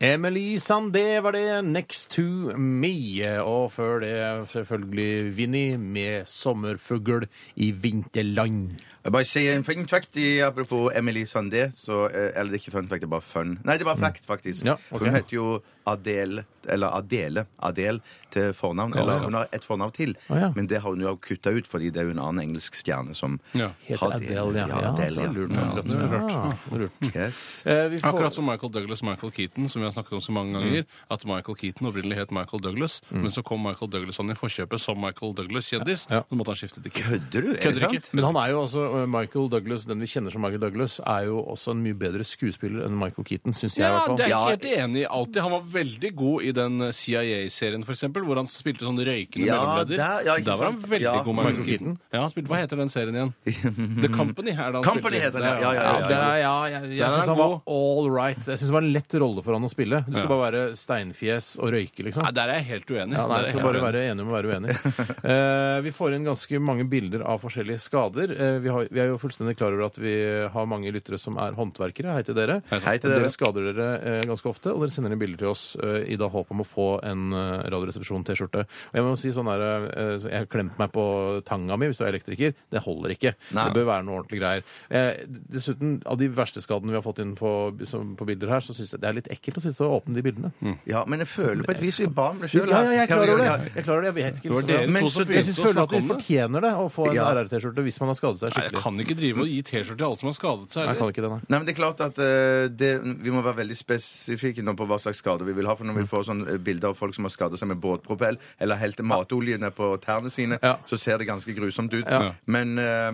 S8: Emily Sandé var det, 'Next to Me'. Og før det selvfølgelig Vinni med 'Sommerfugl i vinterland'.
S4: Jeg bare sier en fun fact i, apropos Emily Sandé. Så, eh, eller det er ikke fun fact, det er bare fun. Nei, det er bare fact, faktisk.
S8: Ja, ok.
S4: For hun heter jo Adele, eller Adele, Adele til fornavn. Eller
S8: Galskap.
S4: hun har et fornavn til,
S8: Å, ja.
S4: men det har hun jo kutta ut fordi det er jo en annen engelsk stjerne som
S5: Ja.
S8: Heter Adele, ja.
S4: ja, Adele, ja.
S8: Lurt,
S5: Ja, det er
S8: Ah.
S5: rart.
S8: Lurt.
S4: Yes.
S8: Eh, vi får-
S5: Akkurat som Michael Douglas og Michael Keaton, som vi har snakket om så mange ganger. At Michael Keaton opprinnelig het Michael Douglas, men så kom Michael Douglas han i forkjøpet som Michael Douglas, kjendis.
S8: Ja.
S5: Så måtte han skifte til Keaton.
S4: Kødder du? Er det
S5: Kødder ikke.
S4: sant?
S8: Men han er jo også eh, Michael Douglas, den vi kjenner som Michael Douglas, er jo også en mye bedre skuespiller enn Michael Keaton, syns jeg. i
S5: Ja,
S8: hvert fall.
S5: det er jeg ikke helt enig i alltid. Han var veldig god i den CIA-serien, for eksempel, hvor han spilte sånn røykende
S4: Ja,
S5: mellomleder.
S4: der- ja, ikke
S5: var han
S4: sant?
S5: veldig
S4: Ja.
S5: god, Michael Keaton. Ja, han spilte, Hva heter den serien igjen? The Company er det han
S4: Company
S5: spilte i.
S4: heter den,
S5: Der,
S4: ja, ja,
S8: Ja, det er, ja, jeg jeg
S5: er
S8: syns han var
S5: god.
S8: all right. Jeg synes det var en lett rolle for han å spille. Du skal
S5: Ja.
S8: bare være steinfjes og røyke, liksom.
S5: Nei, der er jeg helt uenig.
S8: Ja, nei,
S5: Der er jeg
S8: vi får
S5: helt
S8: bare
S5: uenig.
S8: være enige om å være uenige. Eh, vi får inn ganske mange bilder av forskjellige skader. Eh, vi, har, vi er jo fullstendig klar over at vi har mange lyttere som er håndverkere. Hei til dere.
S4: Hei til dere.
S8: Dere skader dere eh, ganske ofte, og dere sender inn bilder til oss eh, i da håp om å få en eh, Radioresepsjon-T-skjorte. Og jeg må si sånn her, eh, så Jeg har klemt meg på tanga mi hvis du er elektriker. Det holder ikke.
S4: Nei.
S8: Det bør være noe ordentlig greier. Eh, dessuten, av de verste skadene vi har fått inn på, som, på bilder her, så syns jeg det er litt ekkelt å sitte og åpne de bildene.
S4: Ja, men jeg føler på et vis vi ba om det
S8: Ja,
S4: sjøl.
S8: ja, jeg er klar over det. Jeg, er klar over det. jeg vet ikke
S5: Det var
S8: liksom-
S5: dere
S4: Men
S5: to
S4: så-
S5: som
S8: Jeg
S5: begynte
S8: synes,
S5: å
S8: føler at
S5: snakke
S8: de
S5: om det.
S8: fortjener det, å få en
S4: Ja.
S8: RR-T-skjorte hvis man har skadet seg
S5: Nei, jeg
S8: skikkelig.
S5: kan ikke drive og gi T-skjorte til alle som har skadet seg.
S8: Nei, jeg
S5: eller?
S8: kan ikke det, nei.
S4: Nei, men det er klart at eh, det, Vi må være veldig spesifikke nå på hva slags skader vi vil ha. For når vi får sånne bilder av folk som har skadet seg med båtpropell eller helt matoljene på tærne sine,
S8: Ja.
S4: så ser det ganske grusomt ut.
S5: Ja.
S4: Men eh,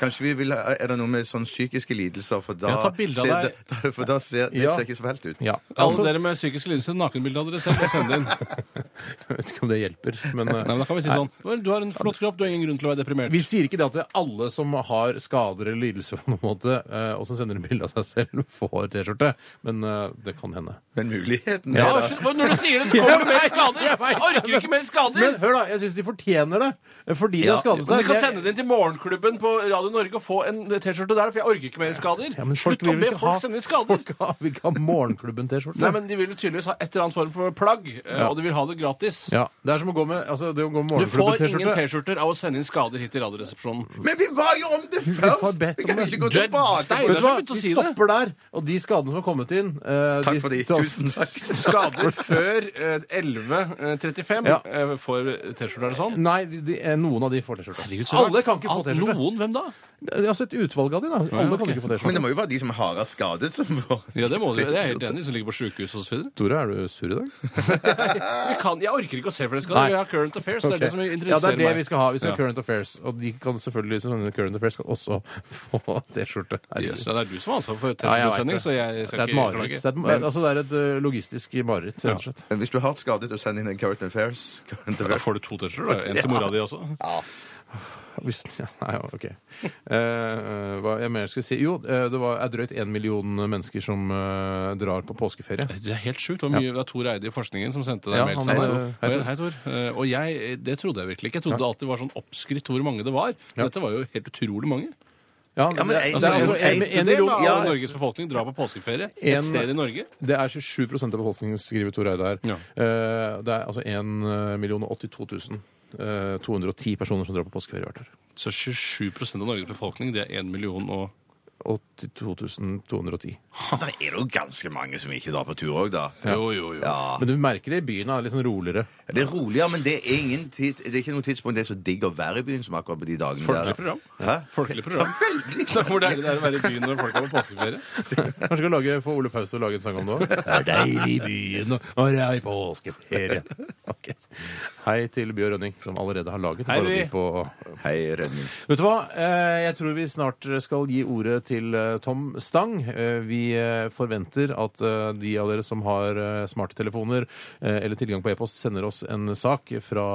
S4: kanskje vi vil ha- Er det noe med sånne psykiske lidelser? For da
S5: Ja, ta bilde av
S4: ser
S5: deg.
S4: det, for da ser det
S8: Ja.
S4: ser ikke så fælt ut.
S8: Ja.
S5: Alle
S8: Altså,
S5: dere med psykiske lidelser, nakenbilde av dere selv og send det inn. Nei,
S8: jeg vet ikke om det hjelper, men, eh,
S5: men da kan vi si sånn «Vel, Du har en flott kropp, du har ingen grunn til å være deprimert.
S8: Vi sier ikke det at det er alle som har skader eller lidelser på noen måte, eh, og som sender en bilde av seg selv, får T-skjorte, men eh, det kan hende.
S4: Men muligheten
S5: Ja,
S4: er der.
S5: slutt- Når du sier det, så kommer det mer
S8: Jeg vet,
S5: skader!
S8: jeg
S5: Jeg
S8: vet.
S5: orker ikke mer skader!
S8: Men hør, da. Jeg syns de fortjener det, eh, fordi de har skadet
S5: Men
S8: seg.
S5: du kan
S8: Jeg-
S5: sende det inn til Morgenklubben på Radio Norge og få en T-skjorte der, for jeg orker ikke mer skader.
S8: ja, men folk
S5: Slutt
S8: vil
S5: å
S8: vel
S5: be
S8: ikke
S5: folk
S8: ha-
S5: sende inn skader.
S8: Folk har- vil ikke ha Morgenklubben-T-skjorte.
S5: Nei, men De vil jo tydeligvis ha et eller annet form for plagg, eh, og de vil ha det gratis.
S8: ja, det er som å gå med altså, det å gå med
S5: Du får ingen
S8: Morgenklubben-T-skjorte.
S5: T-skjorter av å sende inn skader hit til Radioresepsjonen.
S4: Men vi ba jo om det
S8: har
S4: først!
S8: bedt
S4: Vi kan jo
S8: om det.
S4: ikke gå
S5: Du er
S4: tilbake
S5: stein-
S4: på
S8: Vet du hva?
S5: Jeg har begynt å
S8: Vi
S5: si det.
S8: stopper der, og de skadene som har kommet inn eh,
S4: Takk for de. Tusen takk.
S5: Skader før eh, 11.35
S8: Ja.
S5: eh, får T-skjorter eller sånn.
S8: Nei, de, de, eh, noen av de får T-skjorte.
S5: så rart.
S8: Alle kan ikke få
S5: Al-
S8: T-skjorte.
S5: Noen? Hvem da?
S8: Altså et utvalg av de, da. Alle kan ikke få
S4: Men eh,
S8: T-skjorte.
S4: det må jo være de som er hardest skadet, som får
S5: Ja, det må du. Det er jeg helt enig i. Som ligger på sjukehus osv.
S8: Tore, er du sur i dag?
S5: Jeg orker ikke å se flere
S8: Nei.
S5: skader. Vi har Current Affairs. Det er det som
S8: ja, det er
S5: interesserer
S8: det
S5: meg.
S8: vi skal ha. Vi skal ha
S5: Ja.
S8: Current Affairs. Og de kan selvfølgelig som sånne Current Affairs kan også få T-skjorte. Herregud.
S5: Jøs, ja, det er du som har ansvar for
S8: Ja, jeg vet
S5: T-skjortesending, så jeg
S8: det
S5: skal
S8: er et
S5: ikke
S8: mareritt.
S5: klage.
S8: Det er, et, ma- altså, det er et ø, logistisk mareritt, rett og slett.
S4: Hvis du er hardt skadet, og send inn en Current Affairs. Current
S5: Da
S4: Affairs.
S5: får du to T-skjorter. da. En til mora di også.
S8: Hvis, ja, nei, ja, ok. Eh, eh, hva jeg mer skulle si? Jo, eh, det var, er drøyt én million mennesker som eh, drar på påskeferie.
S5: Det er helt sjukt. Det var mye- det var Tor Eide i Forskningen som sendte deg
S8: Ja,
S5: en mail.
S8: han-
S5: sånn her.
S8: hei, Tor. Hei,
S5: Og
S8: Tor.
S5: jeg- Hei, Tor. Eh, Og jeg, det trodde jeg virkelig ikke. Jeg trodde det alltid var sånn oppskrytt hvor mange det var. Men dette var jo helt utrolig mange.
S4: Ja, men en-
S8: det, det er
S5: en
S8: altså en, en
S5: femtedel
S8: million
S5: av
S8: ja,
S5: Norges befolkning drar på påskeferie
S8: En-
S5: et sted i Norge.
S8: Det er 27 av befolkningen, skriver Tor Eide her.
S5: Ja.
S8: Eh, Det er altså 1 082 000. eh, 210 personer som drar på påskeferie hvert år.
S5: Så 27 av Norges befolkning, det er 1 million og
S8: 82 210.
S4: Da er det jo ganske mange som ikke drar på tur òg, da.
S5: Jo, jo, jo.
S4: Ja.
S8: Men du merker det i byen er litt sånn roligere.
S4: Det er roligere, men det er, ingen tid, det er ikke noe tidspunkt det er så digg å være i byen som akkurat på de dagene.
S5: Folkelig
S4: der.
S5: program.
S4: Hæ?
S5: Folkelig program.
S4: Veldig.
S5: Snakk om hvor deilig det er å være i byen når folk er på påskeferie.
S8: Kanskje vi kan lage, få Ole Paus til å lage en sang om det òg? Det er deilig i byen når det er påskeferie. Ok. Hei til Bjørn Rønning, som allerede har laget en
S5: Hei,
S8: parodi
S5: Bjørn.
S8: på
S4: Hei, Rønning.
S8: Vet du hva? Eh, Jeg tror vi snart skal gi ordet til eh, Tom Stang. Eh, Vi eh, forventer at eh, de av dere som har eh, smarttelefoner eh, eller tilgang på e-post, sender oss en sak fra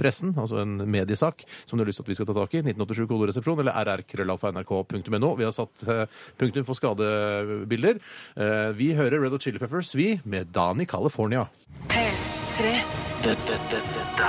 S8: pressen, altså en mediesak, som du har lyst til at vi skal ta tak i. 1987 kodoresepsjon eller rrkrøllalfa.nrk.no. Vi har satt eh, punktum for skadebilder. Eh, Vi hører Red Hot Chili Peppers, vi, med Dani California.
S1: P3
S2: Dette, dette, dette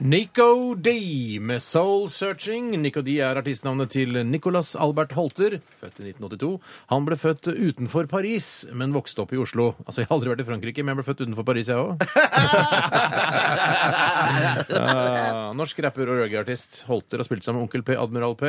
S8: Nico D med Soul Searching. Nico D er artistnavnet til Nicolas Albert Holter, født i 1982. Han ble født utenfor Paris, men vokste opp i Oslo. Altså, Jeg har aldri vært i Frankrike, men jeg ble født utenfor Paris, jeg òg. Ah, norsk rapper og reggaeartist. Holter har spilt sammen med Onkel P, Admiral P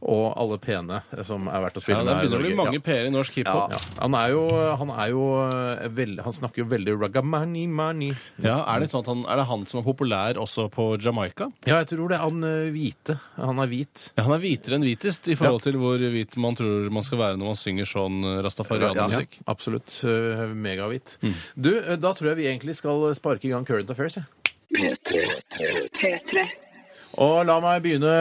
S8: og alle pene som er verdt å
S5: Ja,
S8: spille
S5: det
S8: med. her i
S5: begynner å bli
S8: Norge.
S5: mange P-er i norsk hiphop.
S8: Ja. Han er jo, han er jo eh, veld, Han snakker jo veldig ragamani-mani.
S5: Ja, er, det sånn at han, er det han som er populær også på Jamaica?
S8: Ja, jeg tror det er han eh, hvite. Han er hvit.
S5: Ja, han er hvitere enn hvitest i forhold til hvor hvit man tror man skal være når man synger sånn rastafarianemusikk.
S8: Ja, absolutt. Eh, Megahvitt. Du, eh, da tror jeg vi egentlig skal sparke i gang Current Affairs. jeg.
S2: P3.
S1: P3.
S8: Og la meg begynne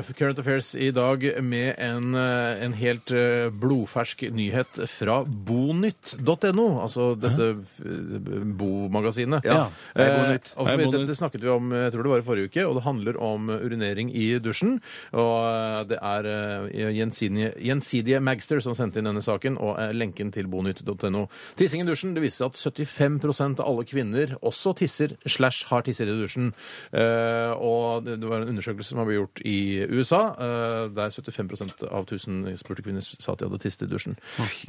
S8: eh, Current Affairs i dag med en, eh, en helt eh, blodfersk nyhet fra bonytt.no, altså dette eh, bomagasinet.
S4: Ja. Hei, Bonytt.
S8: Eh, og
S5: Hei,
S8: vi-
S5: Bonytt.
S8: det, det snakket vi om eh, jeg tror det var i forrige uke, og det handler om eh, urinering i dusjen. Og eh, det er eh, gjensidige, gjensidige Magster som sendte inn denne saken, og eh, lenken til bonytt.no. Tissing i dusjen det viser seg at 75 av alle kvinner også tisser slash har tisset i dusjen. Eh, og det, det var en undersøkelse som har blitt gjort i USA, eh, der 75 av 1000 spurte kvinner sa at de hadde tisset i dusjen.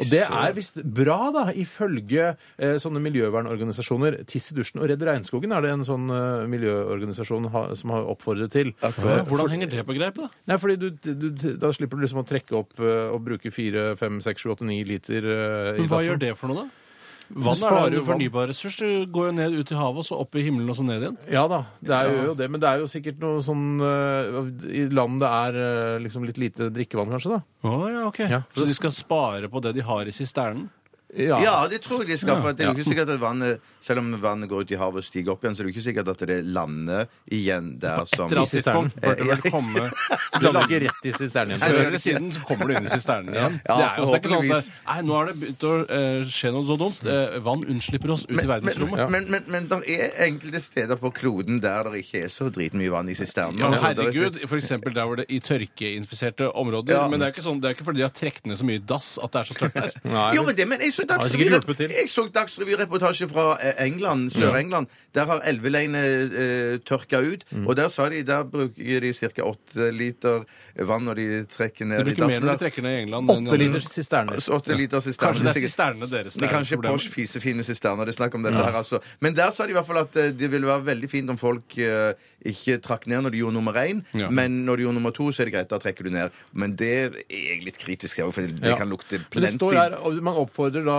S8: Og det er visst bra, da, ifølge eh, sånne miljøvernorganisasjoner. Tiss i dusjen og Redd Regnskogen er det en sånn eh, miljøorganisasjon ha, som har oppfordret til.
S5: Ja, Hvordan henger det på greip, da?
S8: Nei, fordi du, du, Da slipper du liksom å trekke opp eh, og bruke 4, 5, 6, 7, 8, 9 liter eh, i
S5: Men hva gjør det for noe, da? Vann er
S8: sparer
S5: jo en
S8: jo vann.
S5: fornybar ressurs. Du går jo ned ut i havet, og så opp i himmelen, og så ned igjen.
S8: Ja da, det er jo det. Men det er jo sikkert noe sånn eh, I land det er eh, liksom litt lite drikkevann, kanskje, da.
S5: Å ja, ok.
S8: Ja.
S5: Så de skal spare på det de har i sisternen?
S4: Ja, det tror jeg de skal. For at det er jo ikke
S8: Ja.
S4: sikkert at vannet Selv om vannet går ut i havet og stiger opp igjen, så er det jo ikke sikkert at det lander igjen der som
S5: Etter at
S8: sisternen.
S5: tidspunkt burde det vel komme
S8: Du lander ikke rett i sisternen
S5: Før
S8: igjen.
S5: eller siden så kommer du inn i sisternen igjen.
S4: Ja,
S5: det er jo det er ikke sånn at
S4: forhåpentligvis.
S5: Nei, nå har det begynt å eh, skje noe så dumt. Eh, vann unnslipper oss ut i
S4: Men, men,
S5: verdensrommet.
S4: men, men, men det er enkelte steder på kloden der det ikke er så dritmye vann i sisternene.
S5: Ja, men
S4: altså, der-
S5: herregud, for eksempel der hvor det i tørkeinfiserte områder.
S4: Ja.
S5: Men det er, ikke sånn, det er ikke fordi de har trukket ned så mye dass at det er så tørt der.
S8: Nei,
S4: Jo, men det, men jeg så
S8: Har sikkert hjulpet til.
S4: Dagsrevy- jeg så Dagsrevy-reportasje fra eh, England, Sør-England. Der har elveleiene eh, tørka ut. Og der sa de der bruker de ca. 8 liter vann når de trekker
S5: Du
S4: ned i
S5: bruker mer
S4: dassen.
S5: når du
S4: der.
S5: trekker ned i England. enn i
S8: Åtte
S5: andre.
S8: liters sisterner.
S4: Så 8 liter sisterne.
S5: Kanskje det er
S4: sikkert-
S5: sisternene deres.
S4: Det er kanskje
S5: problemet.
S4: Porsche fisefine sisterner. Det er snakk om dette her, altså. Men der sa de i hvert fall at eh, det ville være veldig fint om folk eh, ikke trakk ned når de gjorde nummer én,
S5: Ja.
S4: men når de gjorde nummer to, så er det greit, da trekker du ned. Men det er jeg litt kritisk til, for det
S8: Ja.
S4: kan lukte
S8: Men det
S4: plenty.
S8: står her, og Man oppfordrer da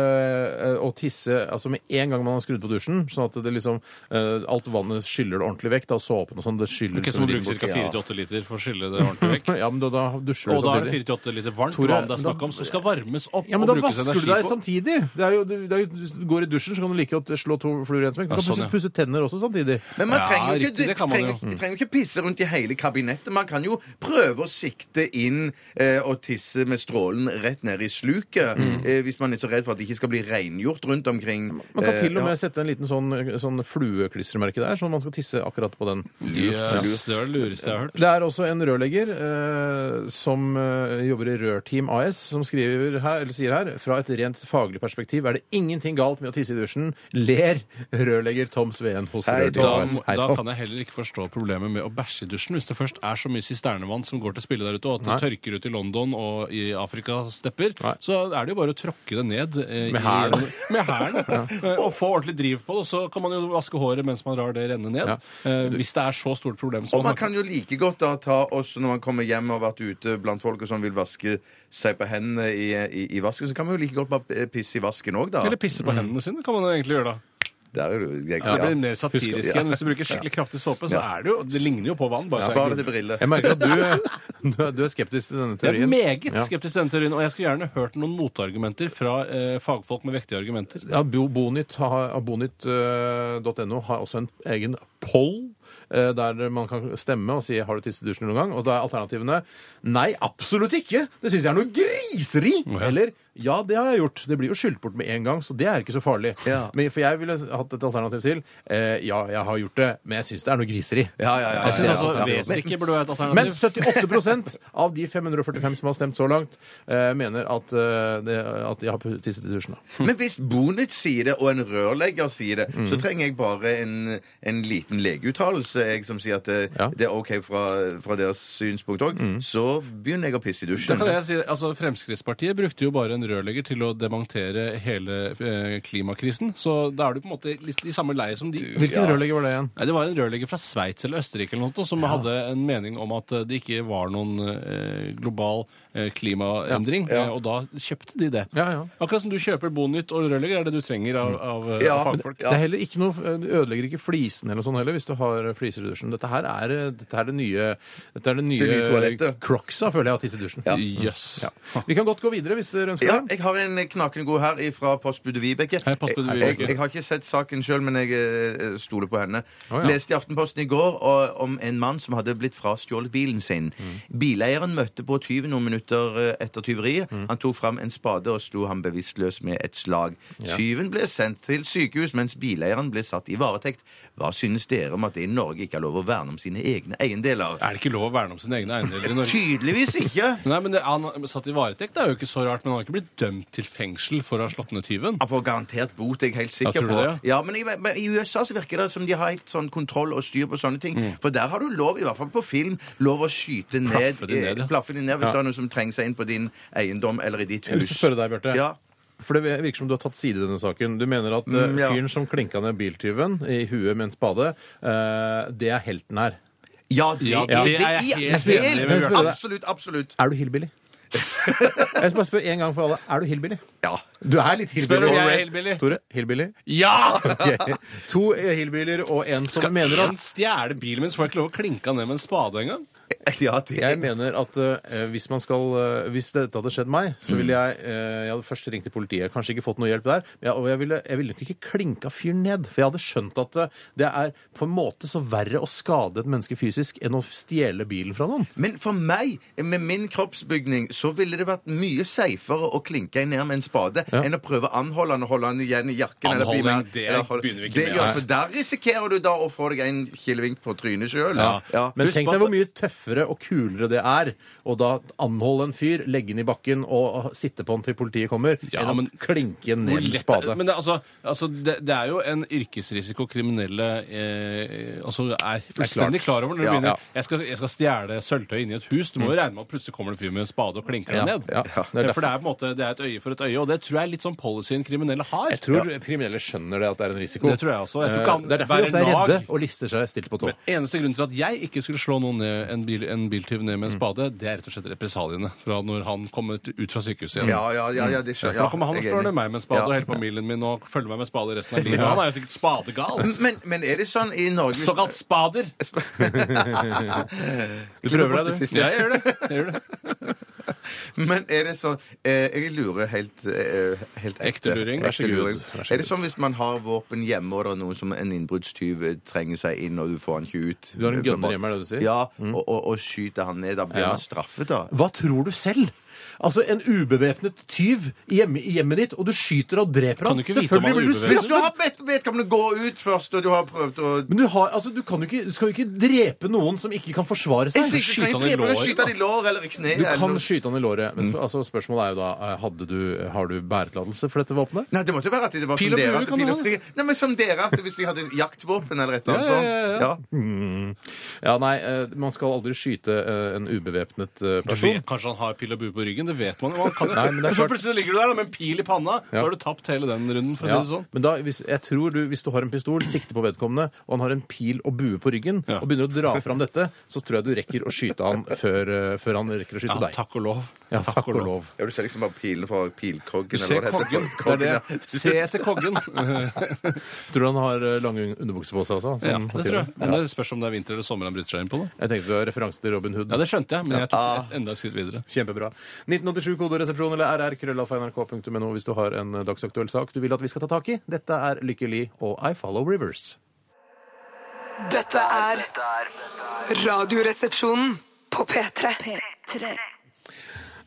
S8: eh, å tisse altså med en gang man har skrudd på dusjen, sånn at det liksom eh, alt vannet skyller det ordentlig vekk. Da såpen og sånn, det skyller
S5: Ikke
S8: liksom
S5: som å
S8: litt
S5: bruke
S8: bort.
S5: ca. 4-8 liter for å skylle det ordentlig vekk.
S8: Ja, men da, da dusjer du
S5: Og da er det
S8: samtidig.
S5: 4-8 liter varmt
S8: Tore,
S5: vann det er
S8: men da-
S5: snakk om, som skal varmes opp
S8: Ja, men da
S5: og brukes
S8: vasker du
S5: energi
S8: deg
S5: på.
S8: samtidig. Det er jo, det er jo, hvis du går i dusjen, så kan du like godt slå to fluer i en smekk. Du
S5: Ja,
S8: kan
S5: sånn,
S8: pusse,
S5: ja.
S8: pusse tenner også samtidig.
S4: Men man
S5: Ja,
S4: trenger, jo
S5: riktig,
S4: ikke,
S5: det kan man jo.
S4: trenger, trenger ikke pisse rundt i hele kabinettet. Man kan jo prøve å sikte inn eh, og tisse med strålen rett ned i sluket, eh, hvis man er så redd for at det ikke skal bli rengjort rundt omkring.
S8: Man kan
S4: Eh,
S8: til og
S4: ja.
S8: med sette en liten sånn, sånn flueklistremerke der, sånn man skal tisse akkurat på den.
S5: Yes, det var det lureste jeg har hørt.
S8: Det er også en rørlegger eh, som eh, jobber i Rørteam AS, som skriver her, eller sier her fra et rent faglig perspektiv er det ingenting galt med å tisse i dusjen. Ler rørlegger Tom Sveen hos
S4: Hei,
S8: Rørteam
S5: Da,
S4: Tom.
S8: AS.
S5: må- da kan jeg heller ikke forstå problemet med å bæsje i dusjen. Hvis det først er så mye sisternevann som går til spille der ute, og at det tørker ut i London og i Afrikas stepper,
S8: Nei.
S5: så er det jo bare å tråkke det ned eh,
S8: Med
S5: i-
S8: hælen.
S5: med hælen, eh, og få ordentlig driv på det. Og så kan man jo vaske håret mens man rar det renne ned.
S8: Ja.
S5: Eh, Hvis det er så stort problem som
S4: Og
S5: man
S4: man
S5: har.
S4: kan jo like godt da ta også når man kommer hjem og har vært ute blant folk og sånn vil vaske seg på hendene i, i, i vasken, så kan man jo like godt bare pisse i vasken òg, da.
S5: Eller pisse på hendene sine, kan man jo egentlig gjøre da.
S4: Der er du jeg,
S5: Ja, det blir mer satirisk
S4: Husker-
S5: igjen.
S4: ja.
S5: Hvis du bruker skikkelig kraftig såpe, så
S4: Ja.
S5: er det jo Det ligner jo på vann. Bare
S4: Ja,
S5: så er
S4: Bare
S5: det
S4: til briller.
S8: Jeg merker at du, du, er- du er skeptisk til denne
S5: jeg er
S8: teorien.
S5: meget
S8: Ja.
S5: skeptisk til denne teorien, og jeg skulle gjerne hørt noen motargumenter fra eh, fagfolk med vektige argumenter.
S8: Ja, Bo- Bonytt har- eh, Bonytt.no har også en egen poll eh, der man kan stemme og si har du tisset i dusjen noen gang. Og da er alternativene nei, absolutt ikke! Det syns jeg er noe griseri! Eller ja, det har jeg gjort. Det blir jo skylt bort med en gang, så det er ikke så farlig.
S4: Ja.
S8: Men, for jeg ville hatt et alternativ til. Eh, ja, jeg har gjort det, men jeg syns det er noe griseri.
S4: Ja, ja, ja,
S5: Jeg synes
S4: ja,
S5: altså,
S4: ja, ja.
S5: vet ikke burde være et
S8: Men
S5: alternativ.
S8: 78 av de 545 som har stemt så langt, eh, mener at, eh, det, at de har tisset i dusjen. da.
S4: Men hvis Bonit sier det, og en rørlegger sier det, så trenger jeg bare en, en liten legeuttalelse jeg, som sier at det,
S8: Ja.
S4: det er OK fra, fra deres synspunkt òg. Så begynner jeg å pisse i
S5: Da
S4: dusjen.
S5: kan jeg si, altså Fremskrittspartiet brukte jo bare en rørlegger til å demontere hele eh, klimakrisen. Så da er du på en måte litt i samme leie som de.
S8: Hvilken rørlegger var det igjen?
S5: Nei, Det var en rørlegger fra Sveits eller Østerrike eller noe, som hadde en mening om at eh, det ikke var noen eh, global eh, klimaendring, eh, og da kjøpte de det.
S8: Ja, ja.
S5: Akkurat som du kjøper Bonytt og rørlegger, er det du trenger av, av eh,
S4: Ja, men-
S5: fagfolk.
S8: Det er heller ikke noe, eh, det ødelegger ikke flisene eller sånn heller, hvis du har fliser i dusjen. Dette her er, eh, dette er det nye, dette er det nye,
S4: nye toalettet.
S8: crocsa, føler jeg, av tiss i dusjen.
S5: Jøss.
S8: Ja. Vi kan godt gå videre hvis dere ønsker
S4: Ja,
S8: det.
S4: jeg har en knakende god her fra postbudet Vibeke.
S5: Hei, postbudet
S4: Jeg-
S5: Vibeke.
S4: Jeg, jeg har ikke sett saken sjøl, men jeg eh, stoler på henne.
S8: Å, ja.
S4: Leste i Aftenposten i går og, om en mann som hadde blitt frastjålet bilen sin.
S8: Mm.
S4: Bileieren møtte på tyven noen minutter eh, etter tyveriet.
S8: Mm.
S4: Han tok fram en spade og slo ham bevisstløs med et slag. Tyven ble sendt til sykehus, mens bileieren ble satt i varetekt. Hva synes dere om at det i Norge ikke er lov å verne om sine egne eiendeler?
S5: Er det ikke lov å verne om sine egne eiendeler i Norge?
S4: Tydeligvis ikke!
S5: Nei, men det, Han satt i varetekt, det er jo ikke så rart, men han har ikke blitt dømt til fengsel for å ha slått ned tyven.
S4: Han får garantert bot, jeg er helt
S5: Ja,
S4: sikker
S5: tror du
S4: på.
S5: det,
S4: ja, men i, men I USA så virker det som de har helt sånn kontroll og styr på sånne ting.
S5: Mm.
S4: For der har du lov, i hvert fall på film, lov å skyte ned
S5: Plaffe de ned, ja.
S4: eh, plaffe de ned hvis
S8: Ja.
S4: det er noen som trenger seg inn på din eiendom eller i ditt
S8: Jeg har lyst
S4: hus.
S8: til å spørre deg, Bjarte.
S4: Ja.
S8: For det virker som du har tatt side i denne saken. Du mener at eh,
S4: Mm, ja.
S8: fyren som klinka ned biltyven i huet med en spade, eh, det er helten her.
S4: Ja, det,
S5: Ja,
S4: det,
S5: det er jeg
S4: ja,
S5: helt
S4: det-
S5: enig
S8: med Bjarte.
S4: Absolutt, absolutt.
S8: Er du hillbilly? jeg skal bare spørre en gang for alle. Er du hillbilly?
S4: Ja.
S8: Du er litt hillbilly.
S5: Spør om jeg er
S8: Alright.
S5: hillbilly.
S8: Tore, hillbilly?
S5: Ja!
S8: Ok. To hillbillyer og en som
S5: Skal
S8: mener at
S5: han stjele bilen min, så får jeg ikke lov å klinke han ned med en spade engang?
S4: ja det,
S8: Jeg mener at eh, hvis, man skal, eh, hvis dette hadde skjedd meg, så ville jeg eh, Jeg hadde først ringt til politiet, kanskje ikke fått noe hjelp der. men Jeg, og jeg ville, jeg ville nok ikke klinka fyren ned, for jeg hadde skjønt at eh, det er på en måte så verre å skade et menneske fysisk enn å stjele bilen fra noen.
S4: Men for meg, med min kroppsbygning, så ville det vært mye seifere å klinke en ned med en spade
S8: Ja.
S4: enn å prøve å anholde han og holde han igjen i jakken. eller bli med-
S5: Anholding, det
S4: eller holde-
S5: begynner vi ikke
S4: det,
S5: med,
S4: Ja,
S5: altså.
S4: for der risikerer du da å få deg en kilevink på trynet sjøl.
S5: Ja.
S8: Men
S5: Husk
S8: tenk
S5: på
S8: deg
S5: at-
S8: hvor mye tøffere og kulere det er å da anholde en fyr, legge han i bakken og sitte på han til politiet kommer,
S5: Ja,
S8: enn å
S5: men-
S8: klinke ned
S5: Hvor
S8: med
S5: lett-
S8: spade.
S5: Men det, er altså, altså det, det er jo en yrkesrisiko kriminelle eh, altså er fullstendig klar over. når du
S4: Ja.
S5: begynner.
S4: Ja.
S5: Jeg skal, jeg skal stjele sølvtøy inni et hus. Du må jo regne med at plutselig kommer det en fyr med en spade og klinker deg
S8: Mm. Ja,
S5: ned.
S8: ja. Det er
S5: Eh,
S8: derfor.
S5: for det er på en måte det er et øye for et øye, og det tror jeg er litt sånn policyen kriminelle har.
S8: Jeg tror kriminelle skjønner det at det er en risiko.
S5: Det tror jeg også. Jeg tror ikke han
S8: Eh, det er derfor de ofte
S5: bærer
S8: er redde
S5: nag.
S8: og lister seg stilt på tå.
S5: Eneste grunn til at jeg ikke skulle slå noen ned, en, bil, en biltyv ned med en spade, det er rett og slett represaliene fra når han kommer ut fra sykehuset igjen.
S4: Ja, ja, ja, ja, det
S5: Ja,
S4: skjønner
S5: for da kommer han og
S4: jeg er
S5: slår
S4: enig.
S5: ned meg med en spade,
S4: Ja.
S5: og hele familien min og følger meg med spade resten av livet. Han er jo sikkert spadegal.
S4: Men, men er det sånn i Norge hvis-
S5: Såkalt spader.
S8: Du
S4: Klipper
S8: prøver
S4: bort
S8: deg,
S4: det
S8: du.
S4: siste.
S5: Ja, jeg gjør det. Jeg gjør det.
S4: Men er det sånn eh, Jeg lurer helt, eh, helt ekte.
S5: Ekte luring. Vær så
S4: Ekte
S5: god.
S4: luring.
S8: Vær så
S4: Er det sånn hvis man har våpen hjemme, og det er noen som en innbruddstyv eh, trenger seg inn, og du får han ikke ut eh,
S8: Du har en gunner hjemme, er det du sier?
S4: Ja, og, og, og skyter han ned. Da blir
S8: Ja.
S4: han straffet, da.
S8: Hva tror du selv? Altså, En ubevæpnet tyv hjemme, i hjemmet ditt, og du skyter og dreper
S5: Kan
S8: ham.
S5: du ikke vite om han er
S8: Selvfølgelig blir du
S5: ubevæpnet?
S4: Hvis du
S8: straffet!
S4: har bedt vedkommende gå ut først, og du har prøvd å
S8: Men du, har, altså, du, kan jo ikke, du skal jo ikke drepe noen som ikke kan forsvare
S4: Jeg sier
S8: seg.
S4: ikke,
S5: skyter
S4: kan
S5: han i
S4: jeg drepe deg,
S5: låret,
S4: Skyte han i lår eller i kne.
S8: Du
S4: eller
S8: kan
S4: noe.
S8: skyte han i låret. Men sp altså, spørsmålet er jo da eh, hadde du, har du bæretillatelse for dette våpenet?
S4: Nei, det måtte jo være at det var
S5: Pil
S4: som
S5: og bue
S4: dere. at-
S5: kan du
S4: pil og
S5: ha,
S4: bue. Nei, men som dere, at hvis de hadde jaktvåpen eller et eller annet
S5: Ja, ja, ja,
S4: sånt.
S5: ja.
S4: Ja.
S8: Ja, nei, eh, man skal aldri skyte eh, en ubevæpnet eh,
S5: Du
S8: person.
S5: vet, kanskje han har pil og bue på på ryggen. Det vet man. man kan,
S8: Nei, men det er
S5: så
S8: klart-
S5: plutselig ligger du der da, med en pil i panna.
S8: Ja.
S5: Så har du tapt hele den runden, for å
S8: Ja,
S5: si det sånn.
S8: men da, hvis, jeg tror du, hvis du har en pistol, sikter på vedkommende, og han har en pil og bue på ryggen,
S5: Ja.
S8: og begynner å dra fram dette, så tror jeg du rekker å skyte han før, eh, før han rekker å skyte
S5: Ja,
S8: deg.
S5: takk og lov.
S8: Ja, takk og lov.
S4: Ja, du ser liksom bare pilene fra pilkroggen.
S5: Du ser
S4: eller hva det heter.
S5: koggen. Det er
S4: ja.
S5: det. Se etter koggen.
S8: Tror du han har eh, lange un- underbukser på seg også?
S5: Ja,
S8: som-
S5: det tror jeg. Men det spørs om det er vinter eller sommer han bryter seg inn på. da.
S8: Jeg tenkte du har referanse til Robin Hood.
S5: Ja, det skjønte jeg, men jeg tok et enda et skritt videre.
S8: Kjempebra. 1987 koderesepsjon eller rr-krøllalfa.nrk.no hvis du har en eh, dagsaktuell sak du vil at vi skal ta tak i. Dette er Lykke Li og I Follow Rivers.
S1: Dette er Radioresepsjonen på P3.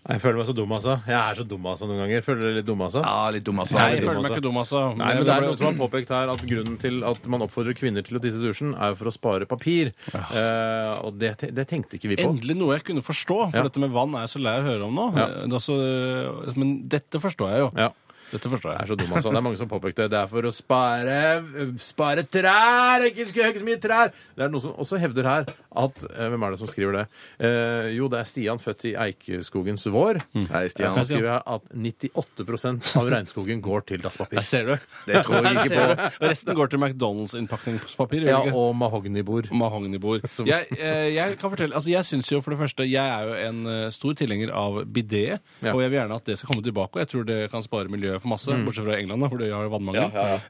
S8: Jeg føler meg så dum, altså. Jeg er så dum, altså, noen ganger. Føler dere litt dum, altså?
S4: Ja, litt dum, altså.
S5: Nei,
S8: det
S5: jeg
S8: dum,
S5: føler meg
S8: altså.
S5: ikke dum, altså.
S8: Nei, men
S5: det
S8: det er
S5: ble-
S8: noen som har påpekt her at grunnen til at man oppfordrer kvinner til å tisse i dusjen, er for å spare papir. Eh, og det, te- det tenkte ikke vi på.
S5: Endelig noe jeg kunne forstå, for
S8: Ja.
S5: dette med vann er jeg så lei av å høre om nå.
S8: Ja.
S5: Det er også, eh, men dette forstår jeg jo.
S8: Ja.
S5: Dette forstår
S8: Jeg er
S5: jeg.
S8: så dum, altså. Det er mange som påpekte det. Det er for å spare, spare trær! Ikke skulle hogge så mye trær! Det er noen som også hevder her at eh, Hvem er det som skriver det? Eh, jo, det er Stian, født i Eikeskogens vår.
S4: Hei,
S8: Jeg
S4: Mm. Stian.
S8: kan skrive her at 98 av regnskogen går til dasspapir.
S5: Der ser du.
S4: Det tror jeg
S5: Der
S4: ikke
S5: ser
S4: på.
S5: du. Resten går til McDonald's-innpakningspapir.
S8: Ja,
S5: gjør det ikke?
S8: og mahognibord.
S5: Mahognibord. Jeg, eh, jeg kan fortelle Altså, jeg syns jo for det første Jeg er jo en eh, stor tilhenger av bidé,
S8: Ja. Mm.
S5: og jeg vil gjerne at det skal komme tilbake. Og jeg tror det kan spare miljøet for masse, bortsett fra England, da, hvor de har vannmangel.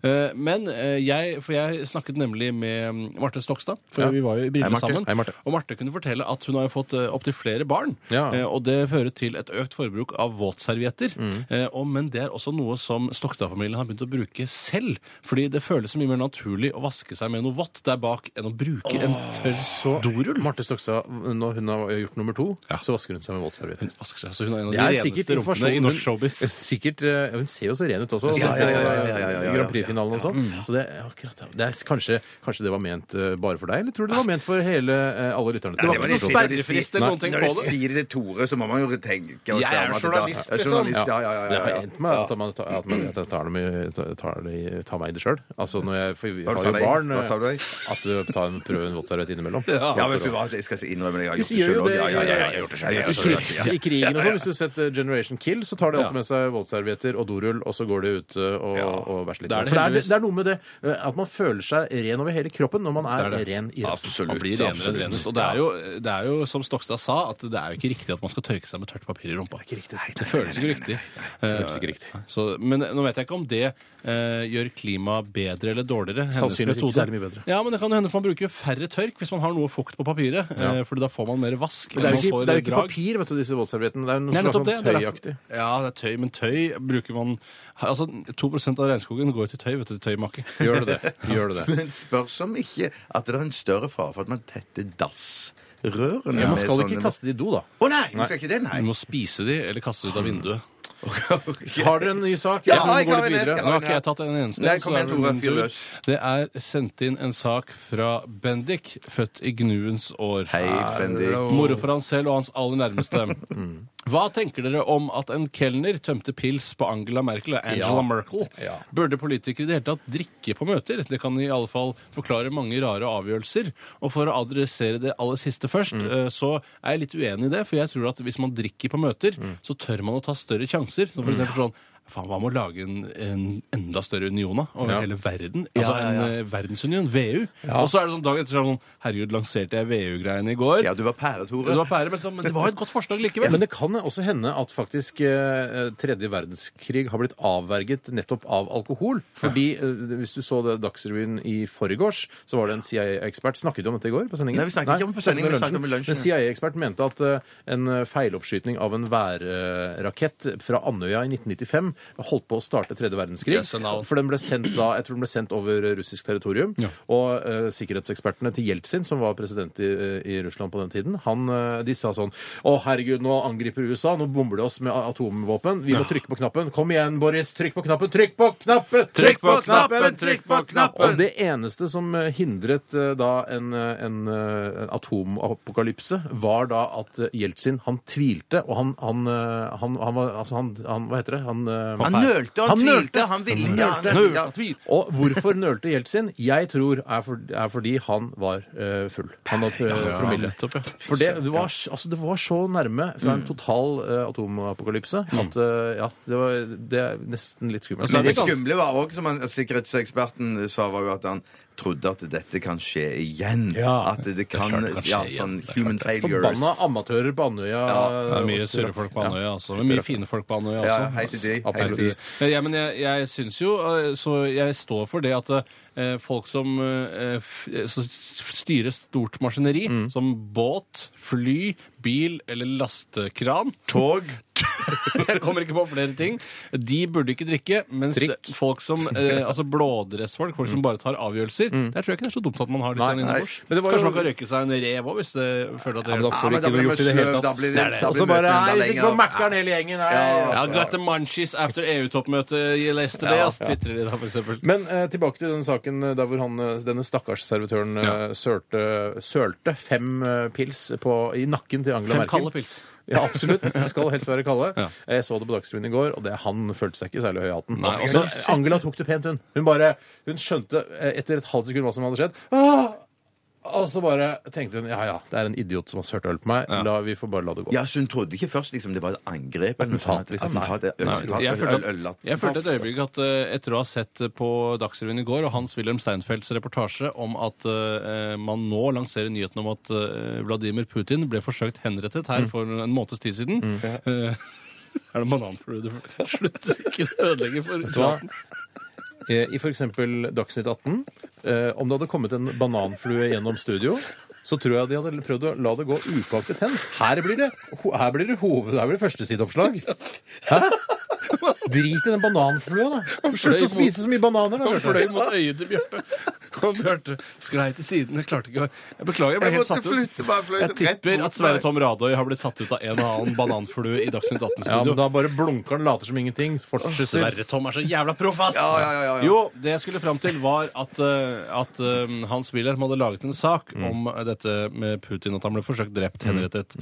S5: Eh, men eh, jeg For jeg snakket nemlig med mm, Marte Stokstad, for
S8: Ja.
S5: vi var jo i
S8: Hei,
S5: brille
S8: Marte.
S5: sammen.
S8: Hei, Marte.
S5: Og Marte kunne fortelle at hun har jo fått eh, opptil flere barn.
S8: Ja.
S5: eh, Og det fører til et økt forbruk av våtservietter. Eh, og- Men det er også noe som Stokstad-familien har begynt å bruke selv. Fordi det føles så mye mer naturlig å vaske seg med noe vått der bak enn å bruke en tørr dorull.
S8: Marte Stokstad, når hun har gjort nummer to,
S5: Ja.
S8: så vasker hun seg med våtservietter.
S5: Hun vasker seg, så hun er en av de
S8: Det er sikkert
S5: reneste rumpene i
S8: informasjon.
S5: norsk showbiz.
S8: Hun, sikkert, eh, hun ser jo så ren ut også.
S4: Ja, ja, ja, ja, ja, ja, ja, ja, mm. ja.
S8: I Grand Prix-finalen og sånn. Så det, er akkurat, det er, kanskje, kanskje det var ment eh, bare for deg, eller tror du det var ment for hele, eh, alle lytterne? Det var
S4: var
S8: ikke
S4: litt
S8: så
S4: fint.
S5: Sperrefrist eller
S8: Nei.
S5: noen ting
S4: Når
S5: på
S4: du
S5: det.
S4: sier det til Tore, så må man jo tenke og
S5: Jeg
S4: se
S5: er
S4: om at det
S5: journalist,
S4: da- Jeg er
S5: liksom.
S4: journalist, Ja, ja, ja,
S8: Det
S4: ja,
S8: har
S4: ja.
S8: endt meg at man, tar- at man at jeg tar det med, tar det, i- tar meg i det sjøl. Altså når jeg, for vi
S4: Hva
S8: har
S4: tar
S8: jo
S4: du i?
S8: barn
S4: Hva
S8: eh,
S4: tar du i?
S8: At du tar en prøve en våtserviett innimellom.
S5: Ja.
S4: Ja, vet du hva, jeg skal innrømme det. Jeg har gjort
S8: Vi
S4: det
S8: sier
S4: selv
S8: jo
S4: også.
S8: det.
S4: Ja, ja, ja, jeg har gjort det selv, jeg har
S8: I,
S5: altså,
S4: gjort det selv.
S8: krigs, I krigen og sånn. Hvis du setter Generation Kill, så tar det
S5: Ja.
S8: alltid med seg våtservietter og dorull, og så går det ut uh, og, og bæsjer litt.
S5: Det er det
S8: For det,
S5: heldigvis.
S8: er, det er noe med det uh, at man føler seg ren over hele kroppen når man er,
S5: Det er det.
S8: ren i resten.
S4: Absolutt.
S5: Man blir renere enn renest. Og det er, jo, det er jo, som Stokstad sa, at det er jo ikke riktig at man skal tørke seg med tørt papir i rumpa. Det, føles ikke riktig.
S8: føles ikke riktig.
S5: Eh, Så, men nå vet jeg ikke om det eh, gjør klimaet bedre eller dårligere. hennes
S8: Sannsynligvis ikke
S5: metode.
S8: særlig mye bedre.
S5: Ja, men det kan jo hende for man bruker jo færre tørk hvis man har noe fukt på papiret. eh, Fordi da får man mer vask.
S8: Men Det er
S5: enn
S8: jo
S5: man
S8: ikke,
S5: får
S8: det er jo ikke
S5: drag.
S8: papir, vet du, disse våtserviettene. Det
S5: Nei,
S8: er noe
S5: nettopp
S8: slags
S5: det.
S8: sånn
S5: Det er
S8: tøyaktig.
S5: derfor- Ja, det er tøy, men tøy bruker man Altså, 2 av regnskogen går til tøy, vet du, til tøymakke.
S8: Gjør det det? Gjør det det?
S4: Men spørs om ikke at det er en større fare for at man tetter dassrørene.
S8: Men man
S4: med
S8: skal
S4: sånne-
S8: ikke kaste det i do, da.
S4: Å nei, man skal ikke det, nei.
S5: Du må spise de, eller kaste de ut av vinduet.
S8: Har dere en ny sak?
S4: Ja,
S8: Jeg tror vi
S4: jeg
S8: går
S4: har
S8: litt
S4: en,
S8: videre.
S4: jeg
S5: Nå har ikke jeg tatt en eneste.
S4: Nei,
S5: så
S4: kom
S5: da er
S4: igjen,
S5: det
S4: Tore,
S5: min
S4: fyr
S5: tur.
S4: løs.
S5: Det er sendt inn en sak fra Bendik, født i gnuens år.
S4: Hei, Bendik.
S5: Moro for han selv og hans aller nærmeste.
S8: Mm.
S5: Hva tenker dere om at en kelner tømte pils på Angela Merkel? eller Angela
S8: Ja.
S5: Merkel?
S8: Ja.
S5: Burde politikere i det hele tatt drikke på møter? Det kan i alle fall forklare mange rare avgjørelser. Og for å adressere det aller siste først,
S8: Mm.
S5: eh, så er jeg litt uenig i det. For jeg tror at hvis man drikker på møter,
S8: Mm.
S5: så tør man å ta større sjanser. Som for eksempel sånn Faen, hva med å lage en, en enda større union da, over
S8: Ja.
S5: hele verden? Altså en eh, verdensunion, VEU. Og så er det sånn dagen etter så er det sånn Herregud, lanserte jeg VEU-greiene i går?
S4: Ja, du var pære, Tore.
S5: Det var pære, men, så, men det var et godt forslag likevel.
S8: Men det kan også hende at faktisk eh, tredje verdenskrig har blitt avverget nettopp av alkohol. Fordi eh, hvis du så det Dagsrevyen i forgårs, så var det en CIA-ekspert Snakket vi om dette i går på sendingen?
S4: Nei, vi snakket ikke om det på sendingen, vi snakket om i lunsjen.
S8: En CIA-ekspert mente at eh, en feiloppskyting av en værrakett fra Andøya i 1995 holdt på å starte tredje verdenskrig.
S5: Yes, and now.
S8: for den ble sendt da, jeg tror den ble sendt over russisk territorium.
S5: Ja.
S8: Og eh, sikkerhetsekspertene til Jeltsin, som var president i, eh, i Russland på den tiden, han, eh, de sa sånn Å, herregud, nå angriper USA. Nå bomber de oss med a- atomvåpen. Vi må trykke på knappen. Kom igjen, Boris. Trykk på knappen. Trykk på knappen!
S5: Trykk på knappen, trykk på knappen!
S8: Og det eneste som eh, hindret eh, da en, eh, en, eh, en atomapokalypse, var da at eh, Jeltsin, han tvilte, og han, han, eh, han, han var Altså, han, han Hva heter det? Han eh, eh,
S4: Han nølte, han,
S8: Han nølte.
S4: tvilte, han ville ikke. han-
S5: Nøl,
S4: ja.
S5: tvil.
S8: Og hvorfor nølte Jeltsin? Jeg tror er, for, er fordi han var eh, full. Han hadde eh, promille.
S5: nettopp, ja.
S8: For det, det, var, s- altså, det var så nærme fra
S5: Mm.
S8: en total eh, atomapokalypse at eh, ja, det, var, det er nesten litt skummelt.
S5: så Mm. Altså, er
S4: Men det
S5: ganske-
S4: skumle var òg, som han, sikkerhetseksperten sa, var jo at han trodde at dette kan skje igjen.
S8: Ja.
S4: at det kan,
S5: klart det kan skje
S4: ja,
S5: igjen.
S4: sånn
S5: Det er
S4: human failures.
S8: Forbanna amatører på Andøya.
S5: Det er mye surre folk på Andøya, altså. Men mye fine folk på Andøya også.
S4: Ja, ja, hei til de.
S5: Absolutt.
S4: Hei til de.
S5: Men, ja, men jeg, jeg syns jo eh, Så jeg står for det at eh, folk som, eh, f- eh, som styrer stort maskineri, som båt, fly, bil eller lastekran
S4: Tog.
S5: jeg kommer ikke på flere ting. De burde ikke drikke, mens folk som eh, altså blådressfolk, folk som bare tar avgjørelser, der tror jeg ikke det er så dumt at man har litt sånn
S8: Mm. Nei, nei.
S5: innabords.
S8: Men det var
S5: Kanskje
S8: jo-
S5: man kan røyke seg en rev òg, hvis det føler at det
S8: Ja, men da får
S4: men
S8: du
S4: da
S8: ikke
S4: blir
S8: noe
S4: det
S8: gjort i det hele
S4: sløv, da
S8: tatt.
S4: blir det-
S8: Nei, nei,
S4: da
S8: Og
S4: blir
S8: så bare
S4: møtene enda
S8: Nei, vi stikker
S4: lenger.
S8: på Mækkern hele gjengen. Nei.
S4: Ja.
S5: Ja, got the munchies after E EU-toppmøtet yesterday,
S4: Ja,
S5: ass, twitrer de da, for eksempel.
S8: Men eh, tilbake til den saken eh, der hvor han, eh, denne stakkars servitøren eh, sølte, sølte fem eh, pils på, i nakken til Angela
S5: Fem
S8: Merkel.
S5: kalde pils.
S8: Ja, absolutt. De skal helst være kalde.
S5: Ja.
S8: Jeg så det på Dagsrevyen i går, og det, han følte seg ikke særlig høy i hatten.
S5: Nei, altså-
S8: Også, Angela tok det pent, hun. Hun bare, hun skjønte eh, etter et halvt sekund hva som hadde skjedd. Ah! Og så bare tenkte hun ja ja, det er en idiot som har sølt øl på meg. La, vi får bare la det gå.
S4: Ja, så hun trodde ikke først liksom, det var et angrep eller noe
S8: Attentat,
S4: sånt.
S8: liksom.
S4: Attentat, det er
S5: Nei,
S4: attentat,
S5: jeg
S4: øl-
S5: følte,
S4: øl-
S5: at,
S4: attentat.
S5: jeg følte et øyeblikk at eh, etter å ha sett på Dagsrevyen i går og Hans-Wilhelm Steinfelds reportasje om at eh, man nå lanserer nyheten om at eh, Vladimir Putin ble forsøkt henrettet
S4: Mm.
S5: her for en måneds tid siden Eh, Er det bananflue du Slutt ikke ødelegge for
S8: hva? Eh, I f.eks. Dagsnytt 18. Eh, om det hadde kommet en bananflue gjennom studio, så tror jeg de hadde prøvd å la det gå upåaktet hen. Her blir det, ho- her blir det, hoved, her blir det førstesideoppslag. Hæ? Drit i den bananflua, da. Slutt å spise så mye bananer, da.
S5: Han fløy
S8: Bjarte.
S5: mot øyet til Bjarte. Og Bjarte skrei til siden. Jeg klarte ikke å Jeg beklager, jeg ble
S4: Jeg
S5: helt
S4: måtte
S5: satt ut.
S4: flytte, bare flytte
S5: Jeg
S4: rett
S5: tipper
S4: mot
S5: at Sverre
S4: meg.
S5: Tom Radøy har blitt satt ut av en og annen bananflue i Dagsnytt
S8: Ja, men
S5: 18-studio.
S8: da bare blunker han, later som ingenting, fortsetter.
S5: Sverre Tom er så jævla proff, ass!
S4: Ja, ja, ja, ja, ja.
S5: Jo, det jeg skulle fram til, var at, eh, at eh, Hans Wilhelm hadde laget en sak om eh, dette med Putin, at han ble forsøkt drept, henrettet.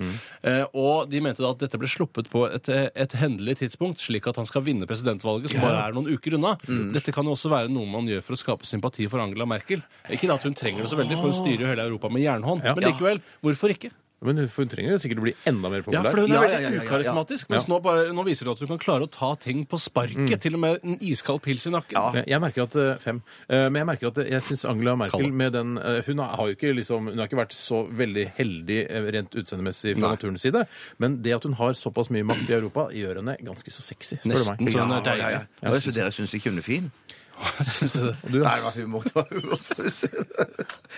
S5: Eh, og de mente da at dette ble sluppet på et, et hendelig tidspunkt, slik at han skal vinne presidentvalget, som bare er noen uker unna. Dette kan jo også være noe man gjør for å skape sympati for Angela Merkel. Ikke da at hun trenger det så veldig, for hun styrer jo hele Europa med jernhånd.
S8: Ja.
S5: Men likevel, hvorfor ikke?
S8: Men hun- for hun trenger jo sikkert å bli enda mer
S5: Ja,
S8: populær.
S5: for hun er
S4: Ja,
S5: veldig
S4: ja, ja, ja, Mm. ja.
S5: ukarismatisk. Mens
S8: Ja.
S5: nå, bare, nå viser det at du kan klare å ta ting på sparket. Til og med en iskald pils i nakken.
S8: Jeg- Jeg merker at eh, fem. Eh, Men jeg merker at eh, jeg syns Angela Merkel
S5: Kalle.
S8: med den eh, Hun har har jo ikke liksom Hun har ikke vært så veldig heldig eh, rent utseendemessig fra
S5: Nei.
S8: naturens side, men det at hun har såpass mye makt i Europa, gjør henne ganske så sexy, spør du
S5: Nesten
S8: meg.
S5: så hun
S4: Ja,
S5: er
S4: ja, ja.
S5: deilig.
S4: Og jeg synes dere syns ikke hun er fin?
S8: Du,
S4: Nei, det var humor. Det var humor.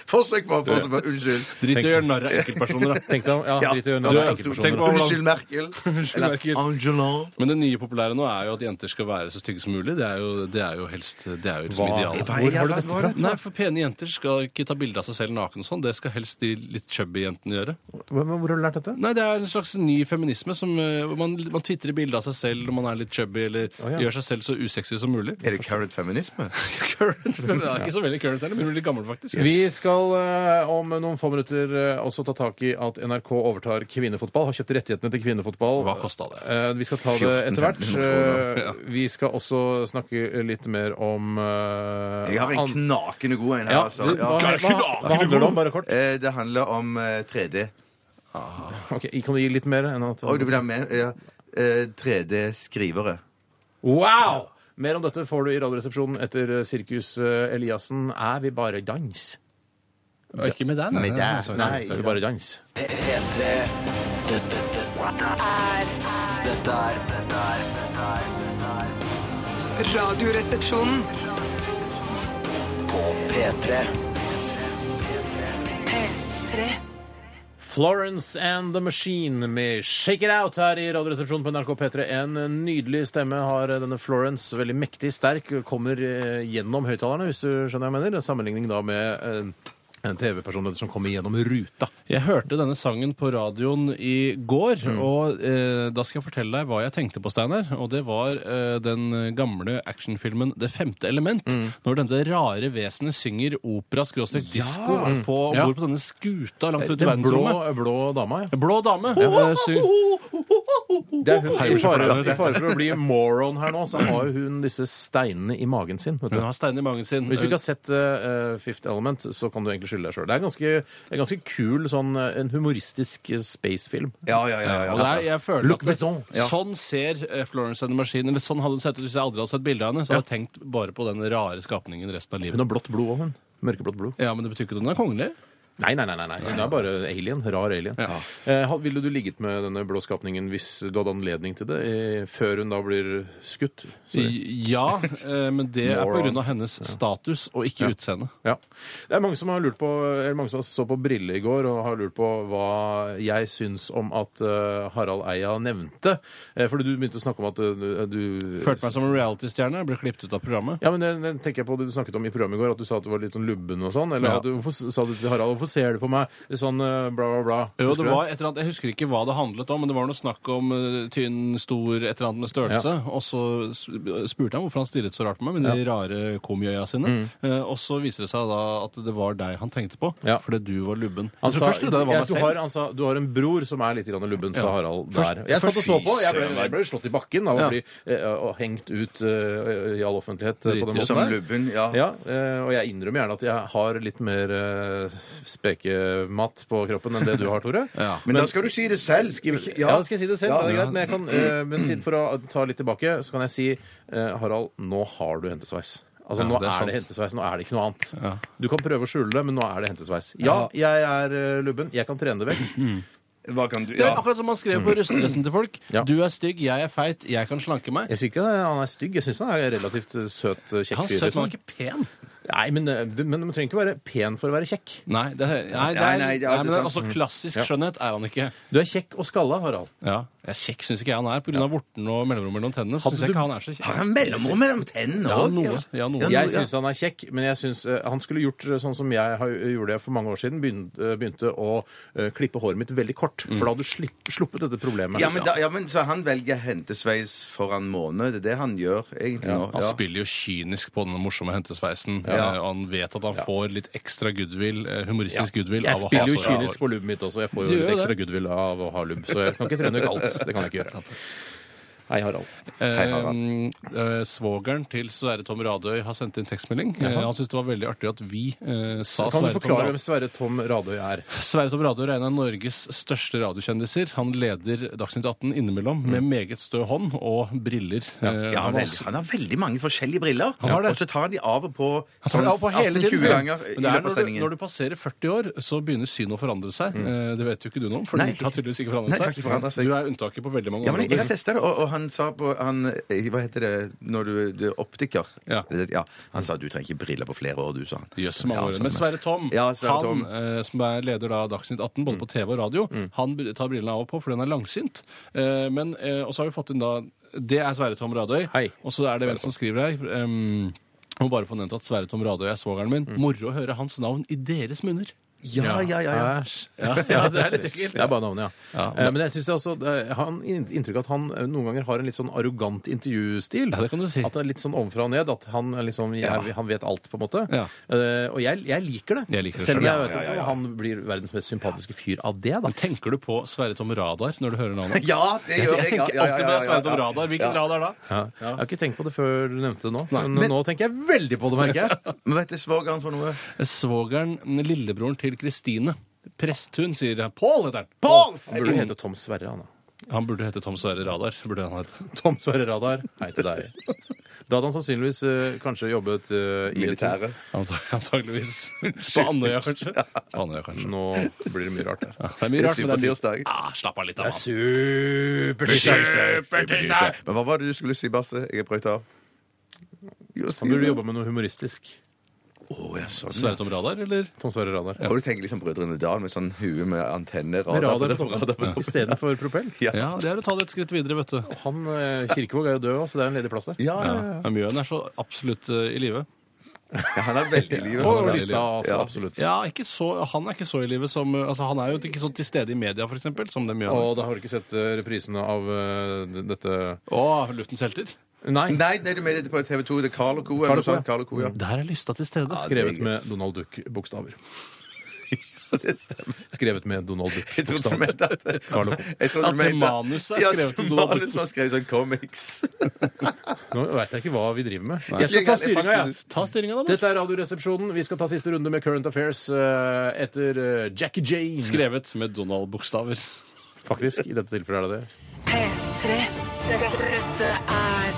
S4: Forsøk på forsøk på Unnskyld.
S5: Drit i å gjøre narr av enkeltpersoner, da.
S8: Tenk deg om Ja,
S4: Ja.
S8: drit i å
S5: Du
S8: gjøre
S5: er- tenk på-
S8: enkeltpersoner.
S4: Unnskyld, Merkel.
S5: Unnskyld, Merkel.
S4: Eller Angela.
S5: Men det nye populære nå er jo at jenter skal være så stygge som mulig. Det er jo, det er jo helst det er jo liksom
S8: Hva?
S5: idealet.
S4: Hvor har du dette fra?
S5: Nei, for pene jenter skal ikke ta bilde av seg selv naken og sånn. Det skal helst de litt chubby jentene gjøre.
S8: Hvor men hvor har du lært dette?
S5: Nei, det er en slags ny feminisme som eh, hvor Man, man tvitrer bilde av seg selv når man er litt chubby, eller
S8: ja.
S5: gjør seg selv så usexy som mulig.
S4: Er det current feminisme?
S5: Current, men det er ikke så veldig current heller. Begynner å bli gammel, faktisk.
S8: Vi skal eh, om noen få minutter eh, også ta tak i at NRK overtar kvinnefotball. Har kjøpt rettighetene til kvinnefotball.
S5: Hva kosta det?
S8: Eh, Vi skal ta det etter hvert.
S4: 14 kroner.
S8: Eh, Vi skal også snakke litt mer om eh,
S4: Jeg har en
S8: an-
S4: knakende god en her,
S8: ja,
S4: altså.
S8: du, hva,
S4: Ja.
S8: hva, hva, handler det om? Bare kort.
S4: Eh, Det handler om eh, 3D.
S8: Ok, kan du gi litt mer? enn at...
S4: Og du vil ha med ja. eh, 3D-skrivere.
S8: Wow! Mer om dette får du i Radioresepsjonen etter Sirkus eh, Eliassen. Er vi bare dans?
S5: Ikke med deg, nei.
S4: Med deg.
S5: nei,
S8: Nei, er vi bare dans?
S2: P- P3 Dette er Dette er Dette er
S1: Radioresepsjonen.
S2: På P3
S1: P3.
S8: Florence and the Machine med Shake It Out her i Radioresepsjonen på NRK P3. En eh, nydelig stemme har eh, denne Florence. Veldig mektig, sterk. Kommer eh, gjennom høyttalerne, hvis du skjønner hva jeg mener. En Sammenligning da med eh, En TV-personlighet som kommer gjennom ruta.
S5: Jeg hørte denne sangen på radioen i går,
S8: Mm.
S5: og eh, da skal jeg fortelle deg hva jeg tenkte på, Steinar. Og det var eh, den gamle actionfilmen Det femte element.
S8: Mm.
S5: Når dette rare vesenet synger opera-disko om bord
S8: Ja.
S5: på denne skuta langt ute i
S8: Den blå,
S5: verdensrommet.
S8: blå dama, ja.
S5: Blå dame. eh, syng-
S8: Det er hun
S5: Hei,
S8: i
S5: hvorfor
S8: fare,
S5: er det-
S8: i fare for å bli moron her nå, så har jo hun disse steinene i magen sin. Vet du.
S5: Hun har stein i magen sin.
S8: Hvis du ikke har sett eh, Fifth Element, så kan du egentlig skylde deg sjøl. Det er ganske, det er ganske kul sånn eh, en humoristisk eh, spacefilm.
S4: Ja, ja, ja. ja,
S5: Eh, Og der, jeg føler
S8: Luc
S5: at
S8: Besson, ja.
S5: Sånn ser eh, Florence and the Machine Eller sånn hadde hun sett ut hvis jeg aldri hadde sett bilde av henne. Så hadde jeg tenkt bare på den rare skapningen resten av
S8: Hun
S5: livet.
S8: har blått blod òg, hun. Mørkeblått blod.
S5: Ja, Men det betyr ikke at hun er kongelig.
S8: Nei, nei, nei. nei, nei. Hun er bare alien. Rar alien.
S5: Ja.
S8: Eh, had- ville du ligget med denne blå skapningen hvis du hadde anledning til det, eh, før hun da blir skutt? Sorry.
S5: Ja, eh, men det er
S8: Moron.
S5: pga. hennes status og ikke utseende.
S8: Ja. Det er mange som har lurt på, eller mange som så på Brille i går og har lurt på hva jeg syns om at eh, Harald Eia nevnte. Eh, fordi du begynte å snakke om at eh, du
S5: Følte meg som en reality-stjerne. Ble klippet ut av programmet.
S8: Ja, men det, det tenker jeg på det du snakket om i programmet i går, at du sa at du var litt sånn lubben og sånn. Eller
S5: Ja.
S8: at du, hvorfor s- sa du til Harald 'hvorfor ser du på meg?' sånn eh, bla, bla, bla.
S5: Jo,
S8: Husker
S5: det
S8: du
S5: var et eller annet, Jeg husker ikke hva det handlet om, men det var noe snakk om eh, tynn, stor, et eller annet med størrelse. Og så s- spurte han hvorfor han stirret så rart på meg med de rare komiøya sine.
S8: Mm.
S5: Eh, og så viser det seg da at det var deg han tenkte på,
S8: Ja.
S5: fordi du var lubben.
S8: Han
S5: Jeg
S8: sa,
S5: tror først trodde jeg det
S8: Altså, ja,
S5: var meg
S8: du,
S5: selv.
S8: har, han sa, du har en bror som er litt grann lubben, sa
S5: Ja.
S8: Harald
S5: Først-
S8: der. Jeg satt og så
S5: først-
S8: på. Jeg ble, jeg ble slått i bakken av å
S5: Ja.
S8: bli eh, og hengt ut eh, i all offentlighet eh, på den
S5: Dritig.
S8: måten
S4: Som
S8: der.
S4: lubben, ja.
S8: Ja, eh, og jeg innrømmer gjerne at jeg har litt mer eh, spekemat på kroppen enn det du har, Tore.
S5: Ja.
S4: Men da skal du si det selv. Skriv ikke
S8: Ja, skal jeg si det selv? det er greit, men, jeg kan, eh, men siden for å ta litt tilbake, så kan jeg si eh, Harald, nå har du hentesveis. Altså,
S5: Ja,
S8: Nå
S5: det
S8: er,
S5: er
S8: det
S5: sant.
S8: hentesveis, nå er det ikke noe annet.
S5: Ja.
S8: Du kan prøve å skjule det, men nå er det hentesveis. Ja, jeg er eh, lubben. Jeg kan trene det vekk.
S4: Hva kan du
S5: Det er
S4: Ja.
S5: akkurat som han skrev på russedressen til folk.
S8: Mm. Ja.
S5: Du er stygg, jeg er feit, jeg kan slanke meg.
S8: Jeg sier ikke at han er stygg. Jeg syns han er en relativt eh, søt, eh, kjekk
S5: Han
S8: fyr.
S5: søker,
S8: liksom.
S5: han er ikke pen.
S8: Nei, men, eh, du- men man trenger ikke være pen for å være kjekk.
S5: Nei, det er, nei, det
S4: Nei,
S5: er,
S4: nei,
S5: nei,
S4: det er
S5: men
S4: alltid
S5: det er
S4: sant.
S5: altså
S8: Mm.
S5: klassisk skjønnhet er han ikke.
S8: Du er kjekk og skalla, Harald.
S5: Ja, jeg er Kjekk syns ikke jeg han er, pga. vorten og mellomrom mellom tennene.
S8: Hadde
S5: Synes jeg
S8: du-
S5: ikke han er så kjekk.
S4: Har han mellomrom mellom tennene
S5: Ja,
S4: òg?
S5: noe. Ja, noe.
S8: Jeg syns han er kjekk, men jeg synes, eh, han skulle gjort eh, sånn som jeg har, gjorde det for mange år siden. Begynte, eh, begynte å eh, klippe håret mitt veldig kort. For da hadde du slipp, sluppet dette problemet.
S4: Ja, men, da, ja, men så han velger hentesveis foran måned. Det er det han gjør egentlig nå.
S5: Han
S4: Ja.
S5: spiller jo kynisk på den morsomme hentesveisen.
S4: Ja.
S5: eh, Og han vet at han får litt ekstra goodwill, eh, humoristisk goodwill
S8: Jeg
S5: av å ha
S8: spiller jo
S5: så bra hår.
S8: kynisk på lubbet mitt også. Jeg
S5: Du
S8: får jo litt
S5: gjør
S8: ekstra
S5: det.
S8: goodwill av å ha lubb, så jeg kan ikke trene vekk alt. Det kan jeg ikke gjøre. Hei, Harald.
S5: Eh, eh, svogeren til Sverre Tom Radøy har sendt inn tekstmelding. Eh, han syntes det var veldig artig at vi eh, sa
S8: Kan
S5: Sverre
S8: du
S5: Tom
S8: forklare
S5: Radøy.
S8: hvem Sverre Tom Radøy er?
S5: Sverre Tom Radøy er en av Norges største radiokjendiser. Han leder Dagsnytt 18 innimellom med
S8: Mm.
S5: meget stø hånd og briller. Eh,
S4: Ja,
S5: han
S4: han, har veldig, han har veldig mange forskjellige briller.
S5: har det.
S4: Og så tar han de av og på
S5: Han tar det av på hele tiden.
S4: 18-20 Altså, ganger i
S5: Men det er
S4: løpet
S5: når
S4: av
S5: du,
S4: sendingen. Mm.
S5: når du passerer 40 år, så begynner synet å forandre seg. Eh, Det vet jo ikke du noe om, for
S4: Nei.
S5: det har tydeligvis ikke forandret
S4: Nei, det
S5: seg.
S4: har ikke forandret seg.
S5: Du er unntaket på veldig mange
S4: Ja, men jeg har
S5: områder.
S4: testa det, og, og han sa på han, eh, Hva heter det når du, du er optiker?
S5: Ja.
S4: ja. Han sa du trenger ikke briller på flere år, du, sa han.
S5: Jøss, mange
S4: Ja,
S5: år.
S4: sånn.
S5: Men Sverre Tom,
S4: Ja, Sverre
S5: han
S4: Tom. Mm.
S5: eh, som er leder da Dagsnytt 18, både på TV og radio, han br- tar brillene av og på fordi han er langsynt. Eh, Men, eh, og så har vi fått inn da Det er Sverre Tom Radøy.
S8: Hei.
S5: Og så er det hvem som skriver her. em, jeg må bare få nevnt at Sverre Tom Radøy er svogeren
S4: Mm.
S5: min. Moro å høre hans navn i deres munner.
S4: Ja, ja, ja. ja.
S8: Æsj.
S5: Ja, ja det er litt ekkelt.
S8: Det er bare navnet, ja.
S5: Ja,
S8: Eh, men jeg synes også, eh, han inn- inntrykk av at han eh, noen ganger har en litt sånn arrogant intervjustil.
S5: Ja, det kan du si.
S8: At det er litt sånn ovenfra og ned, at han, er liksom, jeg, han vet alt, på en måte.
S5: Ja.
S8: Eh, og jeg, jeg liker det.
S5: Jeg liker det
S8: Selv om jeg
S5: selv.
S8: vet ikke om han blir verdens mest sympatiske fyr av det, da.
S5: Men tenker du på Sverre Tom Radar når du hører navnet hans?
S4: Ja, det gjør
S5: Jeg
S4: jeg. Ja,
S5: tenker
S4: ja, ja,
S5: alltid
S4: ja,
S5: på
S4: ja,
S5: Sverre Tom
S4: ja.
S5: Radar. Hvilken radar da?
S8: Ja. Jeg har ikke tenkt på det før du nevnte det nå, men, nå tenker jeg veldig på det, merker jeg.
S4: Men vet du svogeren for noe?
S5: Svogeren, lillebroren til Kristine. Presthund, sier jeg. Pål heter han.
S8: Han burde hete Tom Sverre, han da.
S5: Han burde hete Tom Sverre Radar. burde han hete.
S8: Tom Sverre Radar, hei til deg. Da hadde han sannsynligvis eh, kanskje jobbet eh, i et-
S4: Militæret.
S5: Antag antageligvis. På Andøya, kanskje. På Andøya, kanskje.
S8: Nå blir det mye rart her.
S5: Ja, det er mye rart, men det er
S4: Supertirsdag.
S5: ah, Slapp av litt av han.
S8: Supertirsdag!
S4: Men hva var det du skulle si, Basse? Jeg er brøyta av. Jo, si
S8: Han burde
S4: det.
S8: jobbe med noe humoristisk.
S4: Å, ja, sånn. ja.
S5: Sverre Tom Radar, eller?
S8: Tom Sverre Radar.
S4: Og du tenker liksom Brødrene Dal med sånn hue med antenne
S8: Med
S4: radar,
S8: radar
S4: på
S8: på
S4: toppen. Radar på
S8: toppen istedenfor propell.
S5: Ja, det er å ta det et skritt videre, vet du.
S8: Han, eh, Kirkevåg er jo død, også, så det er en ledig plass der.
S4: Ja, ja,
S5: Ja, Mjøen er så absolutt eh, i live.
S4: Ja, han er veldig i livet.
S8: På
S4: Han er-
S8: lista, altså.
S4: Ja.
S8: Absolutt.
S5: Ja, ikke så, han er ikke så i livet som altså, Han er jo ikke så til stede i media, for eksempel, som dem gjør.
S8: Og da har du ikke sett eh, reprisene av eh, d- dette
S5: Å, luftens helter.
S8: Nei.
S4: Nei, nei, du mener det på TV 2. Det er Carl og Co.
S8: Carl
S4: Eller
S8: og
S4: noe
S8: Co,
S4: sånt. Carl og Co, ja.
S5: Der er lysta til stede.
S4: Ja,
S5: skrev-
S8: Skrevet med Donald Duck-bokstaver.
S4: Det stemmer.
S8: Skrevet med Donald
S4: Jeg trodde du
S8: Duck-bokstaver.
S4: mente at
S8: Carl og Co.
S4: Jeg trodde
S5: At
S4: du
S5: det
S4: mente-
S5: manuset er skrevet
S4: Ja,
S5: til
S4: at
S5: Donald
S4: manuset var skrevet sånn comics.
S8: Nå veit jeg ikke hva vi driver med.
S4: Nei.
S8: Jeg skal ta styringa, jeg.
S5: Ta styringa, da. Lars.
S8: Dette er Radioresepsjonen. Vi skal ta siste runde med Current Affairs eh, etter eh, Jackie Jane.
S5: Skrevet med Donald-bokstaver.
S8: Faktisk. I dette tilfellet er det det.
S1: P3. Dette, dette er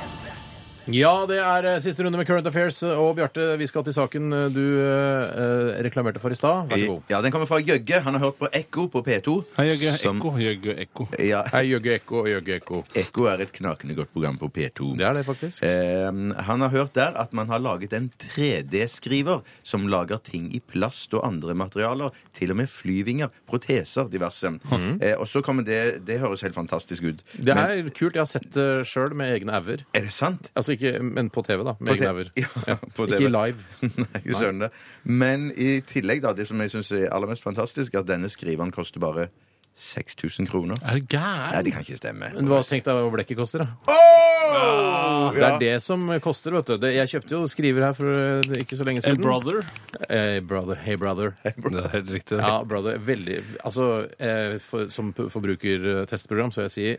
S8: Ja, det er eh, siste runde med Current Affairs. eh, Og Bjarte, vi skal til saken eh, du eh, eh, reklamerte for i stad. Vær så god.
S4: Ja, Den kommer fra Jøgge. Han har hørt på Ekko på P2.
S5: Hei, Jøgge.
S4: Som-
S5: Ekko. Jøgge, ekko.
S4: Ja,
S8: Hei, Jøgge Ekko og Jøgge Ekko.
S4: Ekko er et knakende godt program på P2.
S8: Det er det, faktisk.
S4: Eh, han har hørt der at man har laget en 3D-skriver som lager ting i plast og andre materialer. Til og med flyvinger, proteser, diverse. Eh, og så kommer det Det høres helt fantastisk ut.
S8: Mhm. Det er kult. Jeg har sett det sjøl med egne auger.
S4: Er det sant?
S8: Altså ikke Men på TV, da.
S4: På
S8: Med egne
S4: te-
S8: auger.
S4: Ja, på TV.
S8: Ikke live.
S4: Nei, jeg skjønner det. Men i tillegg, da, det som jeg syns er aller mest fantastisk, er at denne skriveren koster bare 6000 kroner.
S5: Er du
S4: Nei,
S5: gæren?
S4: det kan ikke stemme.
S8: Men hva tenkte jeg hva blekket koster, da?
S4: Åh!
S8: Det er det som koster, vet du. Det- Jeg kjøpte jo skriver her for eh, ikke så lenge
S5: A
S8: siden.
S5: brother?
S8: Eh, brother. Hey, brother.
S5: Det er helt riktig.
S8: Ja, brother. Veldig Altså, eh, for, som p- forbrukertestprogram, så vil jeg si eh,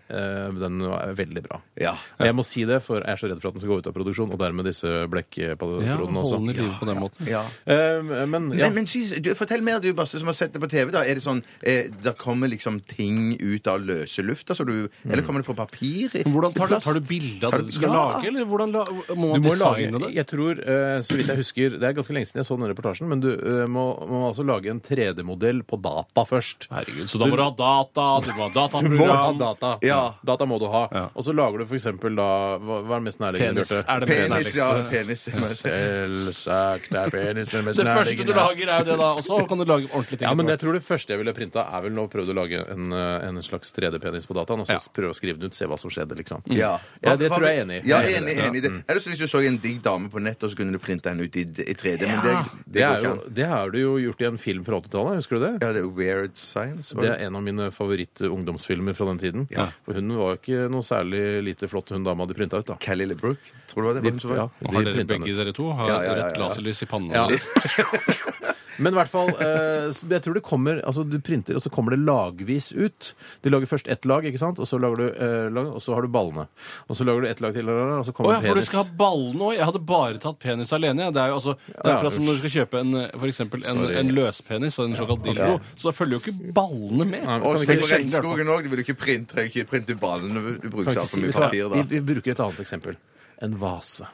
S8: den var veldig bra.
S4: Ja.
S8: Men Jeg må si det, for jeg er så redd for at den skal gå ut av produksjon, og dermed disse
S5: Ja,
S8: blekkpatronene også.
S5: holder livet på den måten.
S4: ja.
S8: Eh, men ja.
S4: Men, men synes- du, fortell mer, du, Basse, som har sett det på TV. da Er det sånn eh, Da kommer liksom ting ut av løse lufta, så du Eller kommer det på papir? i-
S5: Hvordan tar du,
S4: plast?
S5: tar du bilde av
S4: Tar
S5: det du
S4: du-
S5: skal
S4: Ja.
S5: lage, eller hvordan la, må
S8: Du
S5: man
S8: må
S5: designe
S8: lage,
S5: det?
S8: jeg tror, eh, så vidt jeg husker, Det er ganske lenge siden jeg så den reportasjen, men du eh, må, må altså lage en 3D-modell på data først.
S5: Herregud, så da må du ha data, du må ha
S8: Du må ha
S5: dataprogram
S8: data.
S4: Ja.
S8: Data må du ha.
S5: Ja.
S8: Og så lager du for eksempel da Hva, hva er det mest nærliggende?
S5: Penis er det mest
S4: Penis, ja.
S5: nærliggende.
S4: Penis.
S8: Selvsagt er penisen mest
S5: Det første du
S8: nærliggende.
S5: lager, er jo det, da. Og så kan du lage ordentlige ting.
S8: Ja, men
S5: etter
S8: jeg tror det første jeg ville printa, er vel nå prøvd å lage en, eh, en slags 3D-penis på dataen, og så
S5: Ja.
S8: prøve å skrive den ut, se hva som skjedde, liksom.
S4: Mm. Ja.
S8: Ja, det tror jeg er enig i.
S4: Ja,
S8: Jeg er
S4: enig,
S8: enig i det.
S4: enig i det. Ellers hvis du så en digg dame på nettet, og så kunne du printe henne ut i, i 3D. Men det, det,
S8: Det,
S4: går
S8: er
S4: ikke
S8: jo,
S4: an.
S8: det har du jo gjort i en film fra 80-tallet, husker du det?
S4: Ja, det er jo Weird Science. var
S8: Det er en av mine favoritt-ungdomsfilmer fra den tiden.
S4: Ja.
S8: For hun var jo ikke noe særlig lite flott, hun dama de printa ut, da.
S4: Kelly LeBrook, tror du det var det? Var hun som var-
S8: Ja,
S5: hvert. Og Har
S8: de
S5: dere
S8: printa
S5: begge
S8: den ut.
S5: dere to har
S4: Ja, ja, ja,
S5: rødt
S4: ja.
S5: laserlys i pannen?
S8: Ja. Men i hvert fall, eh, så jeg tror det kommer Altså, du printer, og så kommer det lagvis ut. De lager først ett lag, ikke sant, og så lager du eh, lag, og så har du ballene. Og så lager du ett lag til, og så
S5: Å
S8: kommer
S5: ja, for du
S8: penis.
S5: skal ha ballene òg? Jeg hadde bare tatt penis alene. jeg. Det er jo altså, det er
S8: Ja,
S5: akkurat som når du skal
S8: unnskyld.
S5: kjøpe en, eh, for eksempel en,
S8: Sorry.
S5: en løspenis, en såkalt dildo, så da følger jo ikke ballene med.
S8: Nei,
S4: Og
S8: men kan
S4: så
S8: vi
S4: på
S8: ikke sjekke det, i hvert fall?
S4: regnskogen òg. Du vil jo ikke printe, trenger ikke printe ballene. Du
S8: Kan
S4: bruker
S8: vi
S4: alt
S8: ikke
S4: for
S8: si-
S4: mye
S8: vet du hva,
S4: papir da.
S8: Vi, vi bruker et annet eksempel. En vase.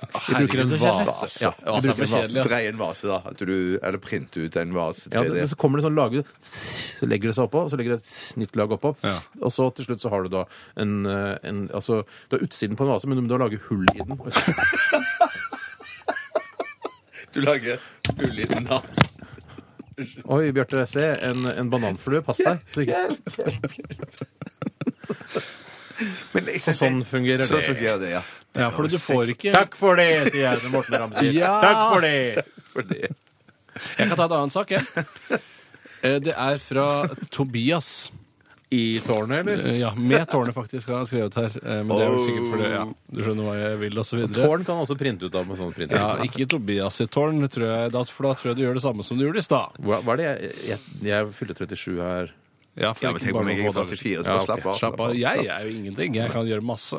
S8: Vi
S5: Herregud,
S8: bruker
S5: så
S8: en
S5: kjedelig.
S8: vase. Ja, vi
S5: Vase er
S8: bruker en
S5: for
S8: vase.
S5: kjedelig, ass.
S4: Dreie en vase, da. At du, eller printe ut en vase.
S8: Ja,
S4: 3D.
S8: det, det, så kommer det sånn lager, så legger det seg oppå, så legger det et nytt lag oppå, og så til slutt så har du da en, eh, en Altså, du har utsiden på en vase, men du må da lage hull i den.
S4: Du lager hull i den, da.
S8: Oi, Bjarte, se, en, en bananflue. Pass deg. Så, ikke,
S4: Men jeg-
S8: så sånn fungerer
S4: Så
S8: det.
S4: fungerer det, ja.
S5: Ja, for du får ikke
S8: Takk for det, sier jeg til Morten Ramsay.
S5: Ja.
S8: Takk for det!
S4: For det.
S5: Jeg kan ta et annet sak, jeg. Eh, Det er fra Tobias.
S8: I tårnet, eller?
S5: Eh, Ja, med tårnet faktisk, har han skrevet her. Eh, Men det er vel sikkert fordi ja, du skjønner hva jeg vil, og så videre.
S8: Tårn kan også printe ut av med sånn printer.
S5: Ja, ikke Tobias sitt tårn, tror jeg, da, for da tror jeg du gjør det samme som du gjorde i stad.
S8: Hva, hva er det jeg, jeg, jeg fyller 37 her.
S5: Ja, for
S4: Ja, men
S5: ikke
S4: tenk
S5: bare
S4: på meg,
S5: noen
S4: jeg er
S5: få dager
S4: 44, så
S5: siden.
S4: bare slapp av,
S5: Slapp
S4: slapp
S5: av.
S4: av,
S5: Jeg
S4: slapp
S5: er jo ingenting. Jeg kan gjøre masse.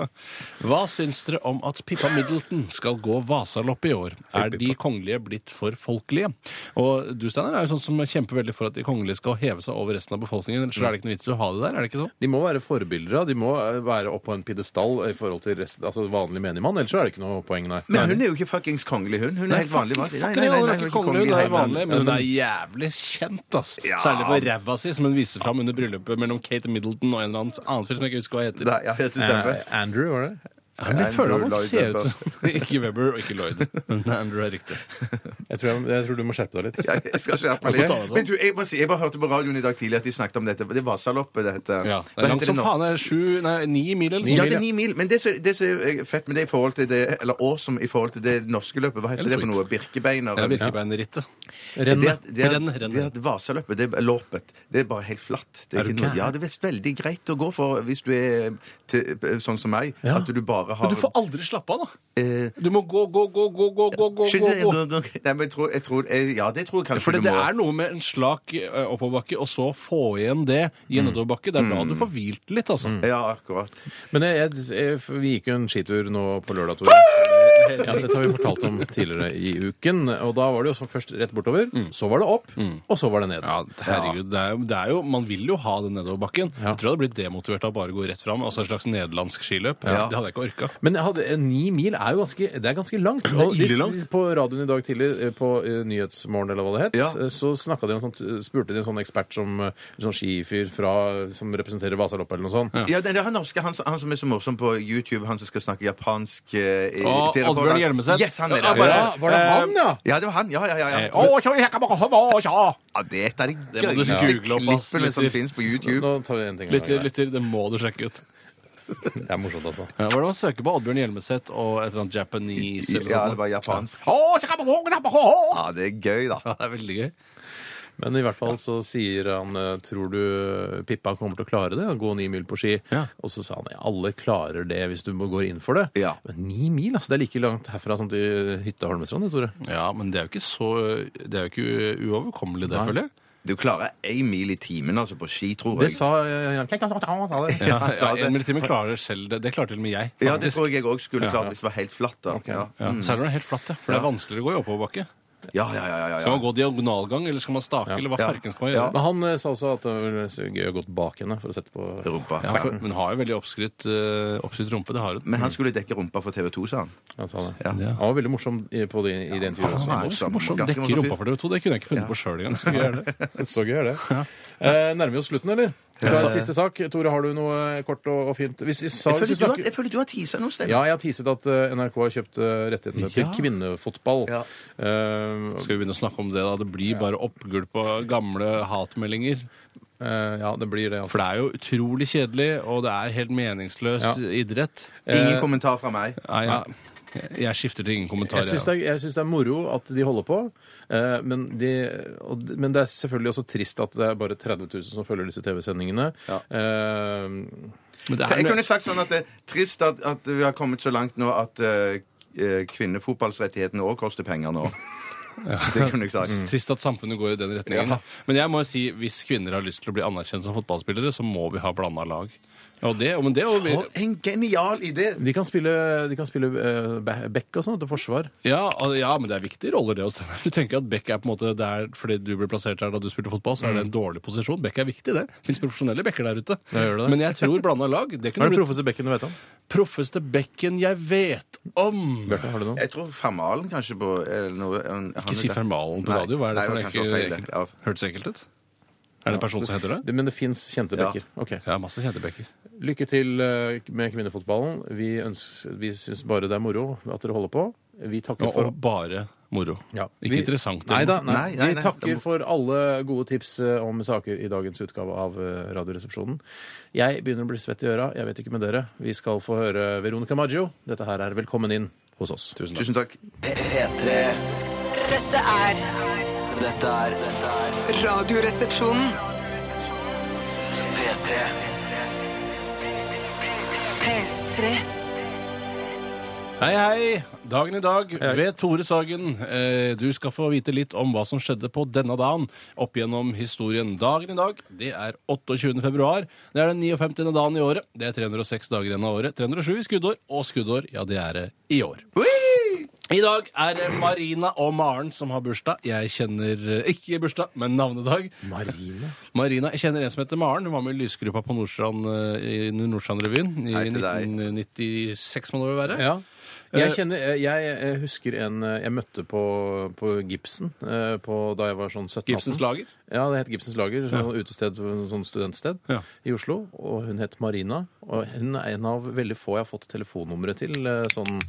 S5: Hva syns dere om at Pippa Middleton skal gå Vasaloppet i år? Er de kongelige blitt for folkelige? Og du, Steinar, er jo sånn som kjemper veldig for at de kongelige skal heve seg over resten av befolkningen. Ellers er det ikke noe vits i å ha det der, er det ikke sånn?
S8: De må være forbilder, da. de må eh, være opp på en pidestall i forhold til resten, altså vanlig menigmann, ellers så er det ikke noe poeng, nei.
S4: Men hun er jo ikke fuckings kongelig, hun. Hun er helt vanlig. vanlig.
S5: Fuck, nei, hun er ikke kongelig, hun er
S4: nei,
S5: vanlig, men hun er jævlig kjent, ass.
S4: Ja.
S5: Særlig for ræva si, som hun viser fram under bryllupet mellom Kate Middleton og en eller annen annen fyr som jeg ikke husker hva heter.
S4: Nei, ja, det stemmer.
S8: Eh, Andrew, var det?
S5: Ja, men jeg føler han
S4: Andrew
S5: ser
S4: Lloyd
S5: ut som Ikke Webber og ikke Lloyd. Men Andrew er riktig.
S8: Jeg tror, jeg, jeg tror du må skjerpe deg litt.
S4: Ja, jeg skal skjerpe meg litt.
S5: Ok.
S4: Men du, jeg, må si, jeg bare hørte på radioen i dag tidlig at de snakket om dette. Det er Vasaloppet, det heter.
S5: Ja,
S4: Hva
S5: det er langt
S4: heter
S5: som
S4: nå?
S5: faen. Det er sju, nei, ni mil eller
S4: Ja,
S5: noe
S4: det er
S5: sånt.
S4: ni mil. Men det som det som er eh, fett med det i forhold til det, eller awesome i forhold til det norske løpet, hva heter
S5: Eller
S4: det for
S5: sweet.
S4: noe? Birkebeiner?
S5: Det er Birkebeinerrittet.
S4: Det, at- det, at-
S5: Renn, renn.
S4: det at Vasaløpet, det er loppet, det er bare helt flatt. Det er, ikke noe, ja, det er visst veldig greit å gå for hvis du er til, sånn som meg,
S8: Ja.
S4: at du bare har
S5: Men du får aldri slappe av, da.
S4: eh,
S5: Du må gå, gå, gå, gå, gå, gå, gå, gå,
S4: Skynd
S5: gå.
S4: deg. Nei, men jeg tror, jeg tror, jeg, ja, det tror jeg kanskje
S5: For det,
S4: du
S5: det
S4: må.
S5: er noe med en slak eh, oppoverbakke, og så få igjen det i en nedoverbakke. Det er da du får hvilt litt, altså.
S4: Ja, akkurat.
S8: Men jeg, jeg, jeg, vi gikk jo en skitur nå på lørdag, Tore. Ja, dette har vi fortalt om tidligere i uken. Og da var det jo sånn først rett bortover, så var det opp, og så var det ned.
S5: Ja, herregud, det er, jo- det er jo, Man vil jo ha den nedoverbakken.
S8: Ja.
S5: Jeg tror jeg hadde blitt demotivert av å bare å gå rett fram. Altså et slags nederlandsk skiløp.
S4: Ja.
S5: Det hadde jeg ikke orka.
S8: Men jeg hadde, eh, ni mil er jo ganske, det er ganske langt.
S5: er
S8: Og de-
S5: ille langt.
S8: På radioen i dag tidlig, eh, på eh, Nyhetsmorgen eller hva det het,
S4: Ja.
S8: eh, så snakket de om sånt, eh, spurte de en sånn ekspert som eh, en sånn skifyr fra, som representerer Vasaloppet eller noe sånt.
S4: Ja, det er han norske, han, som- han som er så morsom på YouTube, han som skal snakke japansk eh, i-
S5: Og
S4: til
S5: Oddbjørn
S4: reporteren.
S5: Hjelmeset.
S4: Yes, han er
S5: Ja,
S4: der.
S5: bare-
S4: Ja,
S8: Ja, var det han, Eh, ja?
S4: ja, det var han. Ja, ja, ja. ja. ja det er et av de
S5: Det må du
S4: gøyeste
S5: google opp, ass,
S4: klippene som
S5: lytter.
S4: finnes på
S8: Så
S4: YouTube.
S8: Nå tar vi en ting av
S5: Lytter,
S8: gangen.
S5: lytter, det må du sjekke ut.
S8: Det er morsomt, altså.
S5: Ja, Hvordan man søker på Oddbjørn Hjelmeset og et eller annet Japanese eller
S4: Ja,
S5: sånt.
S4: det var japansk.
S5: Ja,
S4: Ja, det er gøy, da.
S5: det er veldig gøy.
S8: Men i hvert fall så sier han eh, Tror du Pippa kommer til å klare det? Å gå ni mil på ski?
S5: Ja.
S8: Og så sa han ja, alle klarer det hvis du må- går inn for det.
S4: Ja.
S8: Men ni mil, altså. Det er like langt herfra som til hytta Holmestrand, det, Tore.
S5: Ja, men det er jo ikke så Det er jo ikke uoverkommelig, det,
S8: Nei.
S5: føler jeg.
S4: Du klarer én mil i timen altså på ski, tror
S8: Det
S4: jeg.
S8: sa eh, han sa det.
S5: Ja,
S4: han
S5: ja,
S4: sa det.
S5: en militime klarer selv det. Det klarte til og med jeg.
S4: Ja, det
S5: faktisk.
S4: tror jeg jeg òg skulle klart hvis det var helt flatt. da. Ja, Mm.
S5: ja. Selv om det er helt flatt, ja. For det er vanskeligere å gå i oppoverbakke.
S4: ja, ja. ja, ja,
S5: Skal man
S4: ja.
S5: gå diagonalgang, eller skal man stake, eller hva
S4: Ja.
S5: farken skal man gjøre?
S4: Ja.
S8: Men han eh, sa også at det var så gøy å gå bak henne for å sette på
S4: Rumpa.
S5: Ja, for, Mm. men har jo veldig oppskrytt, eh, oppskrytt rumpe. Det har hun.
S4: Men han skulle dekke rumpa for TV 2, sa han.
S8: Han sa det.
S4: Ja.
S8: Han var veldig morsom i, på det, i altså. det intervjuet også.
S5: Så
S4: Han er morsom,
S5: liksom morsomt.
S4: ganske
S5: Dekke
S4: morsom fyr.
S5: rumpa for dere to, det kunne jeg ikke funnet på sjøl engang. Så gøy er det.
S8: Så gøy er det. Eh, nærmer vi oss slutten, eller? Det er siste sak. Tore, har du noe eh, kort og, og fint? Hvis, hvis,
S4: Jeg føler
S8: hvis
S4: du har, jeg føler du har tisa noe sted.
S8: Ja, jeg har teaset at eh, NRK har kjøpt eh, rettighetene til
S5: Ja.
S8: kvinnefotball.
S4: Ja.
S8: Eh,
S5: Skal vi begynne å snakke om det, da? Det blir bare oppgulp av gamle hatmeldinger.
S8: eh, ja, det blir det, altså.
S5: For det er jo utrolig kjedelig, og det er helt meningsløs
S8: Ja.
S5: idrett.
S4: Ingen kommentar fra meg.
S5: eh, Nei, jeg, jeg skifter til ingen kommentar.
S8: Jeg syns det, er- jeg syns det er moro at de holder på, eh, men, de, og, d- men det er selvfølgelig også trist at det er bare 30 000 som følger disse TV-sendingene. Eh,
S5: Men det
S4: Jeg
S5: er,
S4: kunne sagt sånn at det er trist at, at vi har kommet så langt nå at eh, eh, kvinnefotballsrettighetene òg koster penger nå. Det kunne jeg sagt.
S5: Trist at samfunnet går i den retningen.
S4: Ja.
S5: Men jeg må jo si, hvis kvinner har lyst til å bli anerkjent som fotballspillere, så må vi ha blanda lag. Og det, men det, og vi,
S4: For en genial idé!
S8: de kan spille, de kan spille eh, be- back og sånn til forsvar.
S5: ja, og- ja, men det er viktige roller, det også. Du tenker at Beck er på en måte der fordi du ble plassert der da du spilte fotball, så er det en dårlig posisjon. Beck er viktig, det. Fins profesjonelle bekker der ute.
S8: Mm. gjør det det.
S5: Men jeg tror blanda lag det
S8: Hva
S5: kunne
S8: er det
S5: blitt
S8: proffeste bekken du vet om?
S5: proffeste bekken jeg vet om.
S8: Bjarte, har du noe?
S4: Jeg tror Fermalen kanskje på eller noe, han- han er
S5: Ikke si
S4: der.
S5: Fermalen på
S4: Nei,
S5: radio. Hva er det
S4: nei,
S5: for noe?
S4: kanskje å feile.
S5: ekkelt-
S4: Ja.
S5: Hørtes ekkelt ut? Er det en person som heter det?
S8: Det- Men det fins kjente
S4: Ja.
S8: bekker. Ok.
S5: Ja, masse kjente bekker.
S8: Lykke til eh, med kvinnefotballen. Vi, ønsker, vi syns bare det er moro at dere holder på. Vi takker
S5: Og,
S8: for
S5: og bare moro.
S8: Ja.
S5: Ikke interessant.
S8: Nei da. Nei.
S4: Nei, nei,
S8: vi
S4: nei.
S8: takker for alle gode tips eh, om saker i dagens utgave av eh, Radioresepsjonen. Jeg begynner å bli svett i øra. Jeg vet ikke med dere. Vi skal få høre Veronica Maggio. Dette her er Velkommen inn hos oss. Tusen
S4: Tusen takk.
S2: P3.
S1: Dette er
S2: Dette er dette er
S1: Radioresepsjonen.
S2: P3.
S1: P3.
S5: Hei, hei! Dagen i dag ved Tore Sagen. Eh, Du skal få vite litt om hva som skjedde på denne dagen opp gjennom historien. Dagen i dag det er 28. februar. Det er den 59. dagen i året. Det er 306 dager igjen av året. 307 i skuddår, og skuddår, ja, det er det i år. I dag er det Marina og Maren som har bursdag. Jeg kjenner eh, ikke bursdag, men navnedag.
S8: Marine?
S5: Marina, Jeg kjenner en som heter Maren. Hun var med i lysgruppa på Nordstrand eh, i Nordstrandrevyen i
S4: Hei til deg.
S5: 1996, må det vel være.
S8: Ja. Jeg, kjenner, jeg eh, husker en eh, jeg møtte på, på Gibson eh, på, da jeg var sånn 17-18.
S5: Gibsens lager.
S8: Ja, det het Gibsens Lager. Sånn utested, sånn studentsted
S5: Ja.
S8: i Oslo. Og hun het Marina. Og hun er en av veldig få jeg har fått telefonnummeret til. eh, Sånn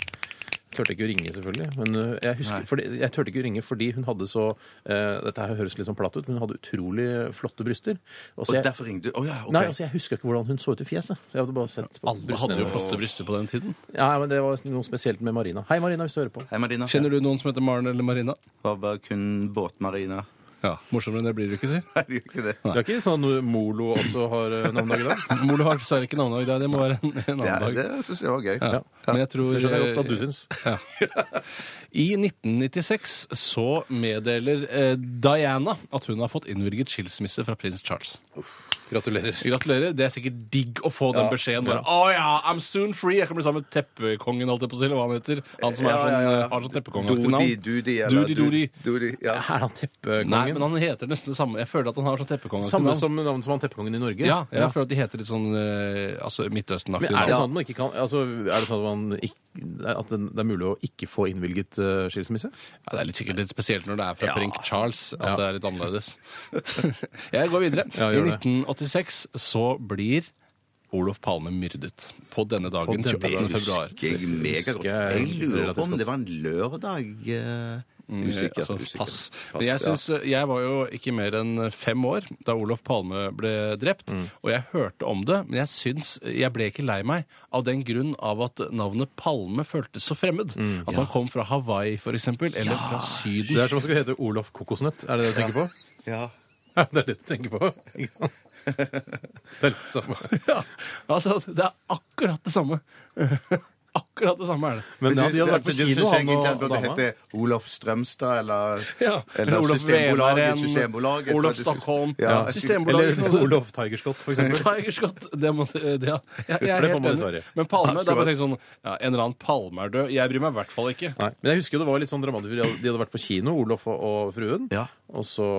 S8: Turte ikke å ringe, selvfølgelig. Men eh, jeg, husker, fordi, jeg turte ikke å ringe fordi hun hadde så eh, Dette her høres litt sånn platt ut, men hun hadde utrolig flotte bryster. Og så
S4: Og
S8: jeg,
S4: derfor ringte du? Å ja, OK.
S8: nei, altså, jeg husker ikke hvordan hun så ut i fjeset. Så jeg hadde bare sett på
S5: Alle hadde jo
S8: hennes.
S5: flotte bryster på den tiden.
S8: Ja, men Det var noe spesielt med Marina. Hei, Marina, hvis du hører på.
S4: Hei, Marina.
S5: Kjenner du noen som heter Maren eller Marina?
S4: Var bare kun båtmarina.
S5: Ja, Morsommere enn det blir det ikke, si.
S4: Nei, det gjorde ikke det.
S8: Det er ikke sånn Molo også har eh, navnedag i dag?
S5: Mor, du har dessverre ikke navnedag i dag. Det må være en, en annen
S4: Ja,
S5: dag.
S4: det syns jeg var gøy.
S5: Ja. Men jeg tror eh,
S8: Det skjønner jeg godt at du syns.
S5: Ja. I 1996 så meddeler eh, Diana at hun har fått innvilget skilsmisse fra prins Charles.
S8: Gratulerer.
S5: Gratulerer. Det er sikkert digg å få den
S8: Ja.
S5: beskjeden. Bare, Å ja, I'm soon free! Jeg kan bli sammen med teppekongen, holdt jeg på å si. Eller hva han heter. Han som er
S4: Ja,
S5: sånn, eh,
S4: ja, ja, ja.
S5: har sånn teppekongeaktig
S4: Dodi,
S5: navn.
S4: Dodi,
S5: Dodi, Dodi.
S4: Dodi, ja.
S8: Er han teppekongen?
S5: Nei, men han heter nesten det samme. Jeg føler at han har sånn teppekongeaktig
S8: Samme
S5: navn.
S8: som navnet som han teppekongen i Norge?
S5: Ja, jeg føler at de heter litt sånn eh, altså Midtøsten-aktig.
S8: Men er det
S5: navn.
S8: sånn at man ikke kan altså, Er det sånn at, man ikk- at det det er mulig å ikke få innvilget eh, skilsmisse?
S5: Ja, det er litt sikkert litt spesielt når det er fra
S8: Ja.
S5: Prink Charles at
S8: Ja.
S5: det er litt annerledes. Jeg går videre.
S8: Ja,
S5: I
S8: gjør det.
S5: 1986 så blir Olof Palme myrdet på denne dagen,
S8: denne
S5: 28.
S8: dagen.
S5: februar.
S4: Husker jeg megagodt.
S8: Husker jeg
S4: Jeg lurer på om
S8: relativt
S4: det var en lørdag. Uh, usikker.
S5: Mm, Altså,
S4: usikker.
S5: pass. Men jeg,
S4: ja.
S5: synes, eh, jeg var jo ikke mer enn eh, fem år da Olof Palme ble drept, og jeg hørte om det, men jeg syns jeg ble ikke lei meg av den grunn av at navnet Palme føltes så fremmed. At han kom fra Hawaii, for eksempel, eller fra Syden.
S8: Det er som om det skulle hete Olof Kokosnøtt. Er det det du tenker på?
S4: Ja.
S8: Ja, det er det du tenker på. det er litt samme.
S5: Ja, altså, det er akkurat det samme. akkurat det samme er det.
S8: Men ja, de hadde vært på kino, han og
S4: Det
S8: dama.
S4: heter Olof Strømstad eller,
S5: Ja,
S4: eller
S5: Olof
S4: Systembolaget.
S5: Veveren,
S4: Systembolaget, tror
S5: Olof
S4: jeg du skulle-
S5: Stockholm,
S4: Ja.
S5: Systembolaget
S8: Eller Olof Tigerscott, for eksempel.
S5: Tiger Scott, det må det, ja. jeg, jeg er
S8: Det får
S5: helt
S8: man i
S5: enig.
S8: Sverige.
S5: Men Palme, det er bare tenkt sånn ja, En eller annen Palme er død. Jeg bryr meg i hvert fall ikke.
S8: Nei, men jeg husker jo det var litt sånn dramatisk. De hadde- De hadde vært på kino, Olof og, og fruen,
S4: Ja.
S8: og så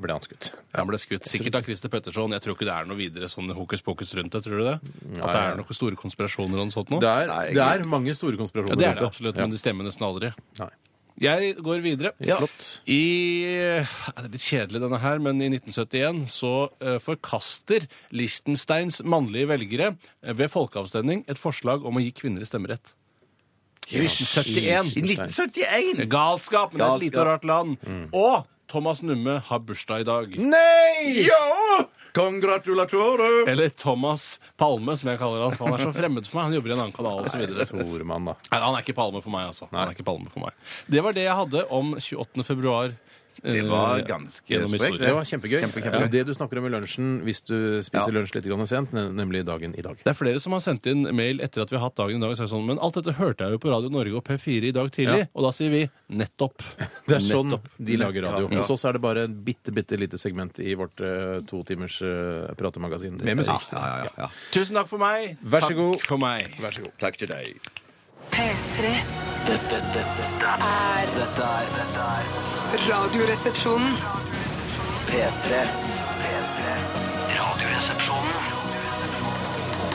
S8: ble han skutt.
S5: Han ble skutt sikkert av Christer Petterson. Jeg tror ikke det er noe videre sånn hokus pokus rundt det. Tror du det? At det er noen store konspirasjoner og noe sånt nå?
S8: Det er,
S4: Nei,
S8: det er mange store
S5: Ja,
S8: konspirasjoner
S5: det er det
S8: rundt
S5: absolutt,
S8: Ja.
S5: men det stemmer nesten aldri.
S8: Nei.
S5: Jeg går videre.
S8: Ja. Flott.
S5: I, ja, det er litt kjedelig denne her, men i 1971 så eh, forkaster Liechtensteins mannlige velgere eh, ved folkeavstemning et forslag om å gi kvinner stemmerett. I 1971.
S4: I 1971!
S5: Galskap, men det er et lite og
S4: Galskap.
S5: rart land. Og Thomas Numme har bursdag i dag.
S8: Nei!
S4: Ja! Congratulatorer!
S5: Eller Thomas Palme, som jeg kaller han. for Han er så fremmed for meg. Han jobber i en annen kanal osv.
S8: Tormann, da.
S5: Nei, han er ikke Palme for meg, altså. Han er ikke Palme for meg. Det var det jeg hadde om 28. februar. eh,
S4: Det var ganske
S5: gjennom
S4: sprekt,
S5: historien.
S8: Det var kjempegøy. Det er det du snakker om i lunsjen hvis du spiser lunsj litt grann sent, nem- nemlig dagen i dag.
S5: Det er flere som har sendt inn mail etter at vi har hatt dagen i dag. Og sagt sånn, men alt dette hørte jeg jo på Radio Norge og P4 i dag tidlig.
S8: Ja.
S5: Og da sier vi nettopp.
S8: Det er sånn
S5: Nettopp.
S8: de lager radio.
S4: Ja.
S8: Hos oss er det bare et bitte, bitte lite segment i vårt eh, to timers eh, pratemagasin med musikk.
S4: Ja, ja, ja.
S5: Tusen takk for meg.
S8: Vær så
S5: takk
S8: god.
S5: for meg.
S8: Vær så god.
S4: Takk til deg.
S1: P3.
S2: Dette, dette, dette er Dette er dette er
S1: Radioresepsjonen.
S2: P3. P3. Radioresepsjonen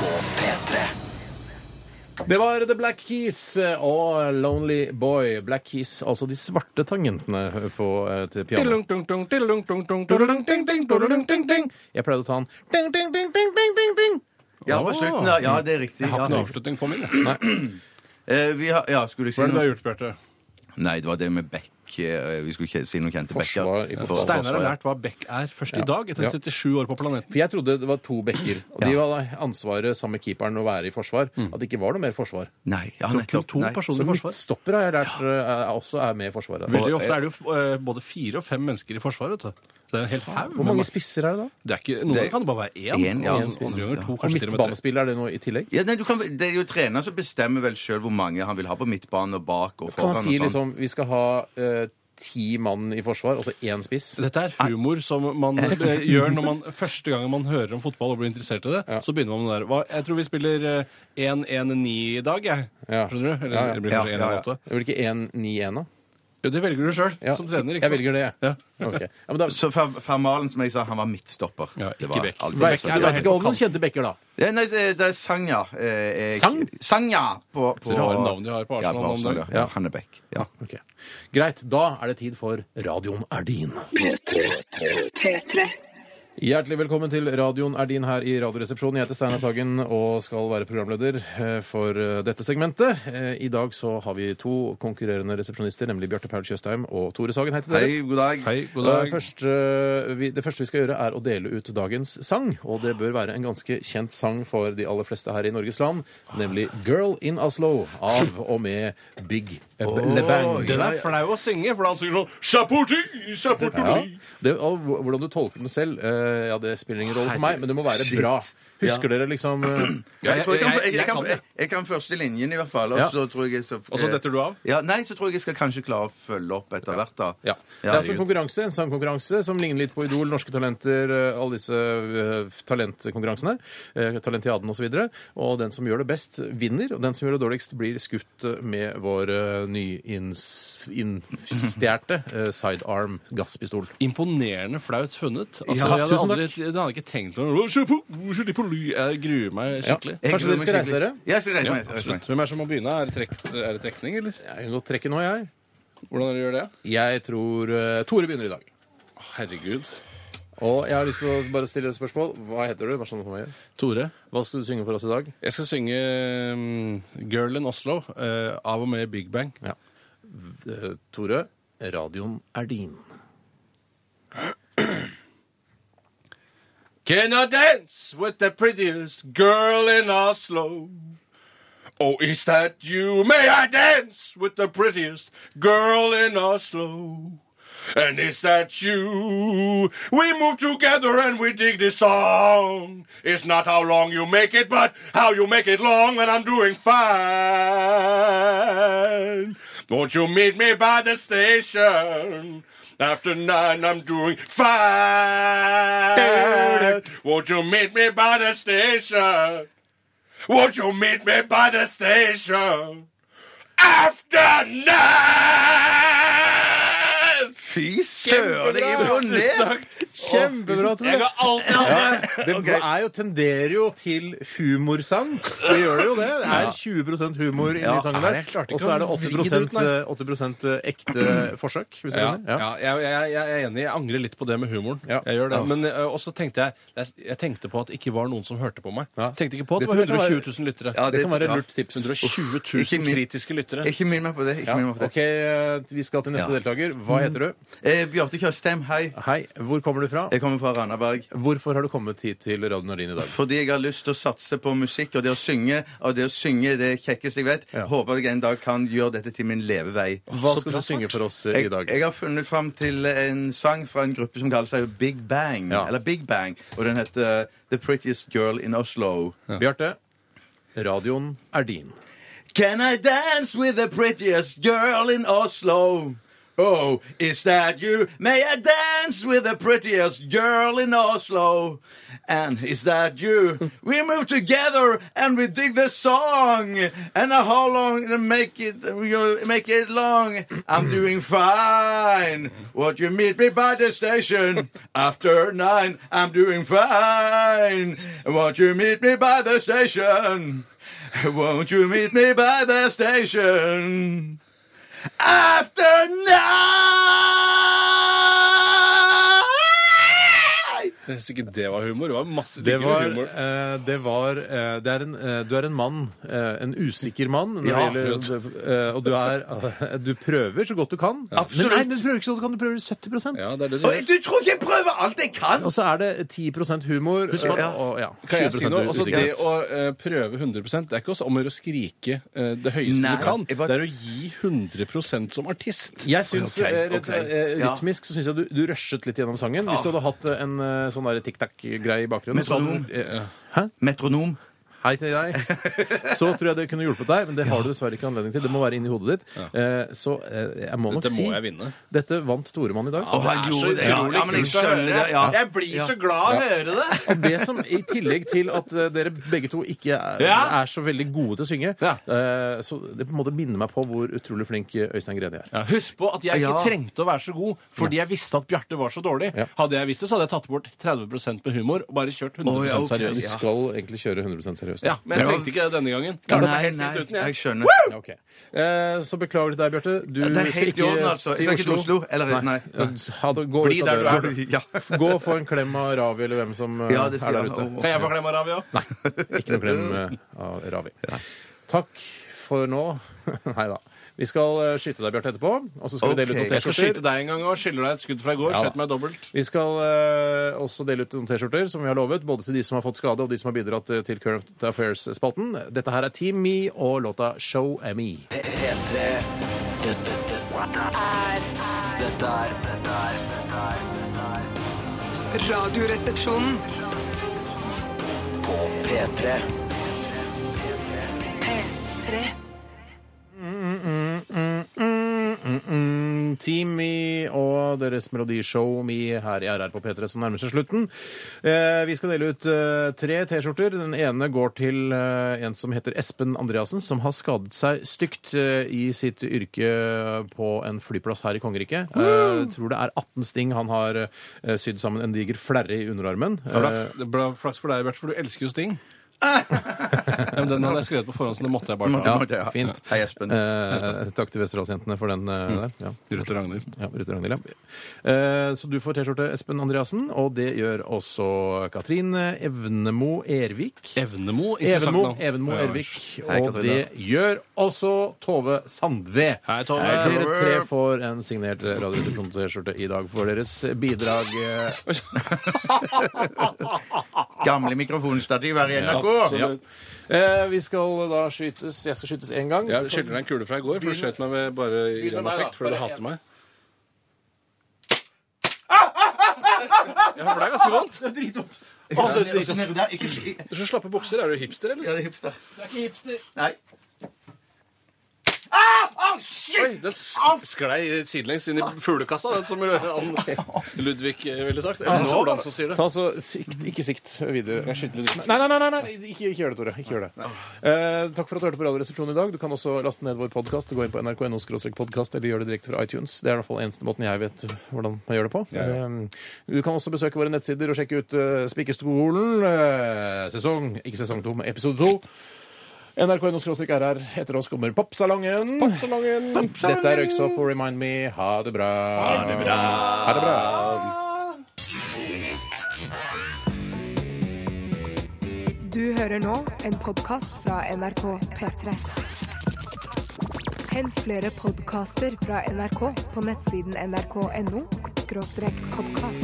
S2: på P3.
S8: Det var The Black Keys eh, og Lonely Boy. Black Keys, altså de svarte tangentene eh, på et piano. Jeg pleide å ta en ding, ding, ding, ding, ding, ding, ding.
S4: Ja, på slutten, ja. ja, det er riktig.
S5: Har
S4: Ja.
S5: ikke noen avslutning på min. jeg.
S4: Eh, vi har, ja, skulle jeg si
S5: Hva er det du
S4: noe?
S5: har gjort, Bjarte?
S4: Nei, det var det med Beck. eh, Vi skulle ikke si noe kjente Becker.
S8: Forsvar i
S4: For-
S8: fotball.
S5: Steinar
S4: forsvar,
S5: har
S4: ja.
S5: lært hva Beck er først i dag, etter
S8: Ja.
S5: 37 år på planeten.
S8: For jeg trodde det var to bekker, og de var ansvaret sammen med keeperen å være i forsvar. At det ikke var noe mer forsvar.
S4: Nei, ja,
S5: Tror ikke
S4: nettopp.
S5: to
S4: Nei.
S5: personer
S8: Så
S5: i Mm. forsvar.
S8: midtstopper har jeg lært eh, er- også er med i forsvaret.
S5: Veldig ofte er det jo eh, både fire og fem mennesker i Forsvaret. vet du. Det er en hel haug.
S8: Hvor mange spisser er det da?
S5: Det er ikke, noen ganger
S4: Det-
S5: kan det bare være én.
S4: Én, ja.
S5: og andre ganger to, kanskje til
S8: Og
S5: og med tre.
S8: midtbanespiller er det noe i tillegg?
S4: Ja, nei, du kan, det er jo treneren som bestemmer vel sjøl hvor mange han vil ha på midtbanen og bak og
S8: Kan
S4: foran.
S8: han si
S4: og sånn.
S8: liksom vi skal ha eh, ti mann i forsvar, og så én spiss.
S5: Dette er humor som man eh, gjør når man første gang man hører om fotball og blir interessert i det. Så begynner man med det der. Hva, jeg tror vi spiller eh, 1-1-9 i dag, jeg.
S8: Ja.
S5: Skjønner du? Eller
S8: Ja, ja.
S5: det blir kanskje
S4: Ja, ja, ja.
S5: 1-8.
S8: Det blir ikke 1-9-1, da?
S5: Jo, det velger du sjøl
S8: Ja,
S5: som trener. ikke
S8: Jeg velger det, jeg.
S5: Ja.
S8: Ok. Ja, men da,
S4: Så Fer- Fermalen, som jeg sa, han var midtstopper.
S5: Ja, ikke
S4: Det var
S5: Beck.
S4: alltid
S8: Beck-
S4: midtstopper.
S8: du vet ikke om noen kjente Becker, da?
S4: Ja, nei, det det er Sanja. Eh, eh,
S8: Sang?
S4: Sanja på, på
S5: Så rare navn de har på Arsenal
S4: Ja, på
S5: om
S4: Arsenal
S5: dagen.
S4: ja.
S8: Ja.
S4: Ja. Han er Beck. Ja.
S8: Ok. Greit. Da er det tid for Radioen er din.
S1: P3.
S8: Hjertelig velkommen til Radioen er din her i Radioresepsjonen. Jeg heter Steinar Sagen og skal være programleder eh, for eh, dette segmentet. Eh, I dag så har vi to konkurrerende resepsjonister, nemlig Bjarte Paul Tjøstheim og Tore Sagen. Hei til dere.
S4: Hei, god dag.
S5: Hei, god
S8: Eh,
S5: dag.
S8: Først, eh, vi, det første vi skal gjøre, er å dele ut dagens sang. Og det bør være en ganske kjent sang for de aller fleste her i Norges land, nemlig 'Girl in Oslo' av og med Big LeBang.
S5: Den er flau å synge, for han synger sånn Chaporti, chaporti.
S8: Ja. Det, og hv- hvordan du tolker den selv, eh, ja, det spiller ingen rolle for meg, men det må være bra. Husker dere liksom eh,
S5: Ja,
S4: Jeg, tror jeg, kan, jeg, jeg,
S5: kan
S4: kan, jeg,
S5: det.
S4: jeg kan første linjen, i hvert fall. Og
S8: Ja.
S4: så tror jeg jeg så,
S5: Og så detter du av?
S4: Ja, nei, så tror jeg jeg skal kanskje klare å følge opp etter hvert, da.
S8: ja. Det er altså en konkurranse, en sangkonkurranse som ligner litt på Idol, Norske Talenter, eh, alle disse eh, talentkonkurransene. eh, Talentiaden osv. Og, så videre. og den som gjør det best, vinner. Og den som gjør det dårligst, blir skutt eh, med vår eh, nyinstjerte eh, sidearm gasspistol.
S5: Imponerende flaut funnet. Altså,
S8: Ja,
S5: jeg hadde
S8: tusen
S5: aldri,
S8: takk.
S5: jeg hadde ikke tenkt noe Jeg gruer meg skikkelig.
S8: Ja. Kanskje dere skal reise dere?
S4: Ja, jeg skal reise
S5: Ja,
S4: meg. reise
S5: absolutt.
S4: meg.
S5: Hvem er det som må begynne? Er det, trekk, er det trekning, eller?
S8: Jeg kan godt trekke nå, jeg.
S5: Hvordan er det du gjør det?
S8: Jeg tror eh, Tore begynner i dag.
S5: Herregud.
S8: Og jeg har lyst til å bare stille et spørsmål. Hva heter du? Vær så snill for meg.
S5: Tore,
S8: Hva skal du synge for oss i dag?
S5: jeg skal synge mm, 'Girl in Oslo' eh, av og med Big Bang.
S8: Eh, Tore, radioen er din.
S5: Can I dance with the prettiest girl in Oslo? Oh, is that you? May I dance with the prettiest girl in Oslo? And is that you? We move together and we dig this song. It's not how long you make it, but how you make it long, and I'm doing fine. Won't you meet me by the station? After nine, I'm doing fine. Won't you meet me by the station? Won't you meet me by the station? After nine!
S4: Fy søren, jeg er imponert!
S8: Kjempebra, Tore.
S5: alltid hatt det!
S8: Det er jo, tenderer jo til humorsang. Det gjør det jo det. Det er 20 humor inni sangen der.
S5: jeg klarte ikke
S8: Og så er det
S5: å vri det ut,
S8: 80, eh, 80 ekte forsøk. Hvis du
S5: Ja,
S8: skjønner.
S5: ja jeg, jeg, jeg er enig. Jeg angrer litt på det med humoren.
S8: Ja.
S5: Jeg gjør det. Men eh, også tenkte jeg, jeg jeg tenkte på at det ikke var noen som hørte på meg.
S8: Ja.
S5: Tenkte ikke på at
S8: Det
S5: det var
S8: tror jeg
S5: 120
S8: kan
S5: 000 lyttere.
S4: Ja,
S8: Det kan være
S4: ja.
S8: et lurt tips.
S5: 120
S4: Ikke
S5: 000
S4: min-
S5: kritiske lyttere.
S4: Ikke minn meg på det. Ikke
S8: Ja,
S4: minn meg på det.
S8: OK, eh, vi skal til neste
S4: Ja.
S8: deltaker. Hva heter du?
S4: Eh, Bjarte Tjøstheim, hei.
S8: Mm. Hei, hvor kommer du fra?
S4: Jeg kommer fra Randaberg.
S8: Hvorfor har du kommet hit til Radio Nardin i dag?
S4: Fordi jeg har lyst til å satse på musikk og det å synge. Og det å synge er det kjekkeste jeg vet.
S8: Ja.
S4: Håper jeg en dag kan gjøre dette til min levevei.
S8: Hva skal du synge for oss eh, i
S4: Jeg,
S8: dag?
S4: jeg har funnet fram til en sang fra en gruppe som kaller seg Big Bang.
S8: Ja.
S4: Eller Big Bang, Og den heter The Prettiest Girl in Oslo.
S8: Bjarte, radioen er din.
S4: Can I dance with the prettiest girl in Oslo? Oh, is that you? May I dance with the prettiest girl in Oslo? And is that you? We move together and we dig the song. And how long to make it? You'll make it long. I'm doing fine. Won't you meet me by the station after nine? I'm doing fine. Won't you meet me by the station? Won't you meet me by the station after nine?
S5: Jeg synes ikke det var humor. Det var masse
S8: Det
S5: diggere
S8: var,
S5: humor.
S8: eh, det var eh, det er en, eh, Du er en mann. eh, en usikker mann. Når
S4: Ja.
S8: det gjelder, eh, og du er eh, Du prøver så godt du kan. Men
S4: Absolutt.
S8: nei, du prøver ikke så godt du kan. Du prøver 70
S5: Ja, det er det du
S4: Og
S5: gjør.
S4: Du tror ikke jeg prøver alt jeg kan?
S8: Og så er det 10 humor.
S5: Husk på-
S8: eh, og, ja,
S5: Kan jeg si
S8: 20%
S5: noe? Altså, det
S8: usikkerhet.
S5: å eh, prøve 100 det er ikke også om å gjøre å skrike eh, det høyeste
S4: Nei,
S5: du kan.
S4: jeg bare-
S5: Det er å gi 100 som artist.
S8: Jeg syns,
S4: Ok,
S8: eh, rett-
S4: ok.
S8: eh,
S4: Ja.
S8: Rytmisk så syns jeg du, du rushet litt gjennom sangen. Hvis du hadde hatt eh, en eh, sånn der tic-tac-greie i bakgrunnen. så hadde du-
S4: Metronom. Metronom.
S8: Hei til deg. Så tror jeg det kunne hjulpet deg, men det har du dessverre ikke anledning til. Det må være inni hodet ditt. Eh, Så eh, jeg må nok
S5: Dette
S8: si
S5: må jeg vinne.
S8: Dette vant Toremann i dag.
S4: Å, han gjorde det. Ja, men jeg skjønner det. Ja.
S5: Jeg blir så glad av å høre det!
S8: Og det som i tillegg til at eh, dere begge to ikke er,
S5: Ja.
S8: er så veldig gode til å synge,
S5: Ja.
S8: eh, så det på en måte minner meg på hvor utrolig flink eh, Øystein Greni er.
S5: Ja, husk på at jeg ikke
S4: Ja.
S5: trengte å være så god fordi jeg visste at Bjarte var så dårlig.
S8: Ja.
S5: Hadde jeg visst det, så hadde jeg tatt bort 30 med humor og bare kjørt 100
S4: Å, ja, ok.
S8: Du
S5: seriøst.
S8: skal egentlig kjøre 100 seriøst.
S5: Ja, men jeg trengte ikke det denne gangen. Klarte meg
S4: Nei,
S5: helt
S4: nei,
S5: fint uten,
S4: jeg
S5: jeg.
S4: skjønner. Det
S8: Ja, ok. Eh, så beklager til deg, Bjarte. Du
S4: er helt i orden, altså. Jeg skal ikke til Oslo. Eller, nei.
S8: Ha det, gå
S4: Bli
S8: ut
S4: der
S8: av
S4: du
S8: døra.
S4: er, du. Ja.
S8: Gå og få en klem av Ravi eller hvem som eh,
S4: Ja, det
S8: er
S4: skal
S8: der
S4: jeg.
S8: ute.
S4: Å, å.
S5: Kan jeg få klem av Ravi òg?
S8: Ikke noe klem eh, av Ravi. Takk for nå. Nei da. Vi skal eh, skyte deg, Bjarte, etterpå. Og så skal vi dele ut
S4: Ok.
S8: noen
S5: Jeg skal
S8: T-skjorter.
S5: skyte deg en gang òg. Skylder deg et skudd fra i går.
S8: Ja, da.
S5: Skjøt meg dobbelt.
S8: Vi skal eh, også dele ut noen T-skjorter, som vi har lovet. Både til de som har fått skade, og de som har bidratt eh, til Current Affairs-spalten. Dette her er Team Me og låta Show Me.
S2: P3 Dette, dette er Dette er Dette er
S9: Radioresepsjonen.
S2: På P3
S1: P3.
S8: Mm, mm, mm. Team Me og deres melodishow Me her i RR på P3 som nærmer seg slutten. Eh, vi skal dele ut eh, tre T-skjorter. Den ene går til eh, en som heter Espen Andreassen, som har skadet seg stygt eh, i sitt yrke på en flyplass her i kongeriket. Eh, tror det er 18 sting han har eh, sydd sammen en diger flerre i underarmen. Eh,
S5: Flaks, det ble flaks for deg, Bjarte, for du elsker jo Sting. ja, men den hadde jeg skrevet på forhånd, så det måtte jeg bare ta.
S4: måtte jeg ha.
S8: fint.
S4: Hei, Espen. Mm.
S8: eh, takk til Westerdalsjentene for den eh, der. Ja.
S5: Ruth og Ragnhild.
S8: Ja, Ruth og Ragnhild, ja. Eh, Så du får T-skjorte, Espen Andreassen, og det gjør også Katrin Evnemo Ervik.
S5: Evnemo, interessant
S8: Evenmo,
S5: navn.
S8: Evenmo
S5: Ja,
S8: Ervik.
S4: Hei,
S8: Og
S4: Katrin,
S8: det gjør også Tove Sandve. Eh,
S5: Hei, Tove.
S8: Dere tre får en signert Radioresepsjon-T-skjorte i dag for deres bidrag. eh,
S4: Gamle mikrofonstativ her i NRK.
S8: Ja. Eh, Vi skal da skytes Jeg skal skytes én gang.
S5: Jeg skylder deg en kule fra i går, for du skjøt meg med bare i
S8: Begynn
S5: ren
S8: med meg, da.
S5: affekt fordi du
S8: Bare
S5: hater
S8: en.
S5: meg. Ja, for det er ganske vondt. Det er dritvondt.
S4: Ja, det er også nede der. Ikke si-
S5: Du er så slappe bukser. Er du hipster, eller?
S4: Ja, det er hipster. Ah, Nei.
S5: Oi, den sk- sklei sidelengs inn i fuglekassa, den som han Ludvig eh, ville sagt. Eller Solan som sier det.
S8: Ta så sikt, Ikke sikt videre. Nei, nei, nei, nei, nei. Ikke, ikke gjør det, Tore. Ikke gjør det. Eh, takk for at du hørte på Radioresepsjonen i dag. Du kan også laste ned vår podkast. Gå inn på nrk.no podkast eller gjør det direkte fra iTunes. Det er i hvert fall eneste måten jeg vet hvordan man gjør det på. Eh, du kan også besøke våre nettsider og sjekke ut eh, Spikerstolen, eh, sesong Ikke sesong to, men episode to. NRK.no RR. Etter oss kommer Popsalongen. Dette er Røyksopp og Remind Me. Ha det bra. Ha det bra. Ha det bra.
S9: Du hører nå en podkast fra NRK P3. Hent flere podkaster fra NRK på nettsiden nrk.no podkast.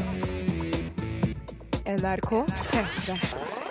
S9: NRK P3.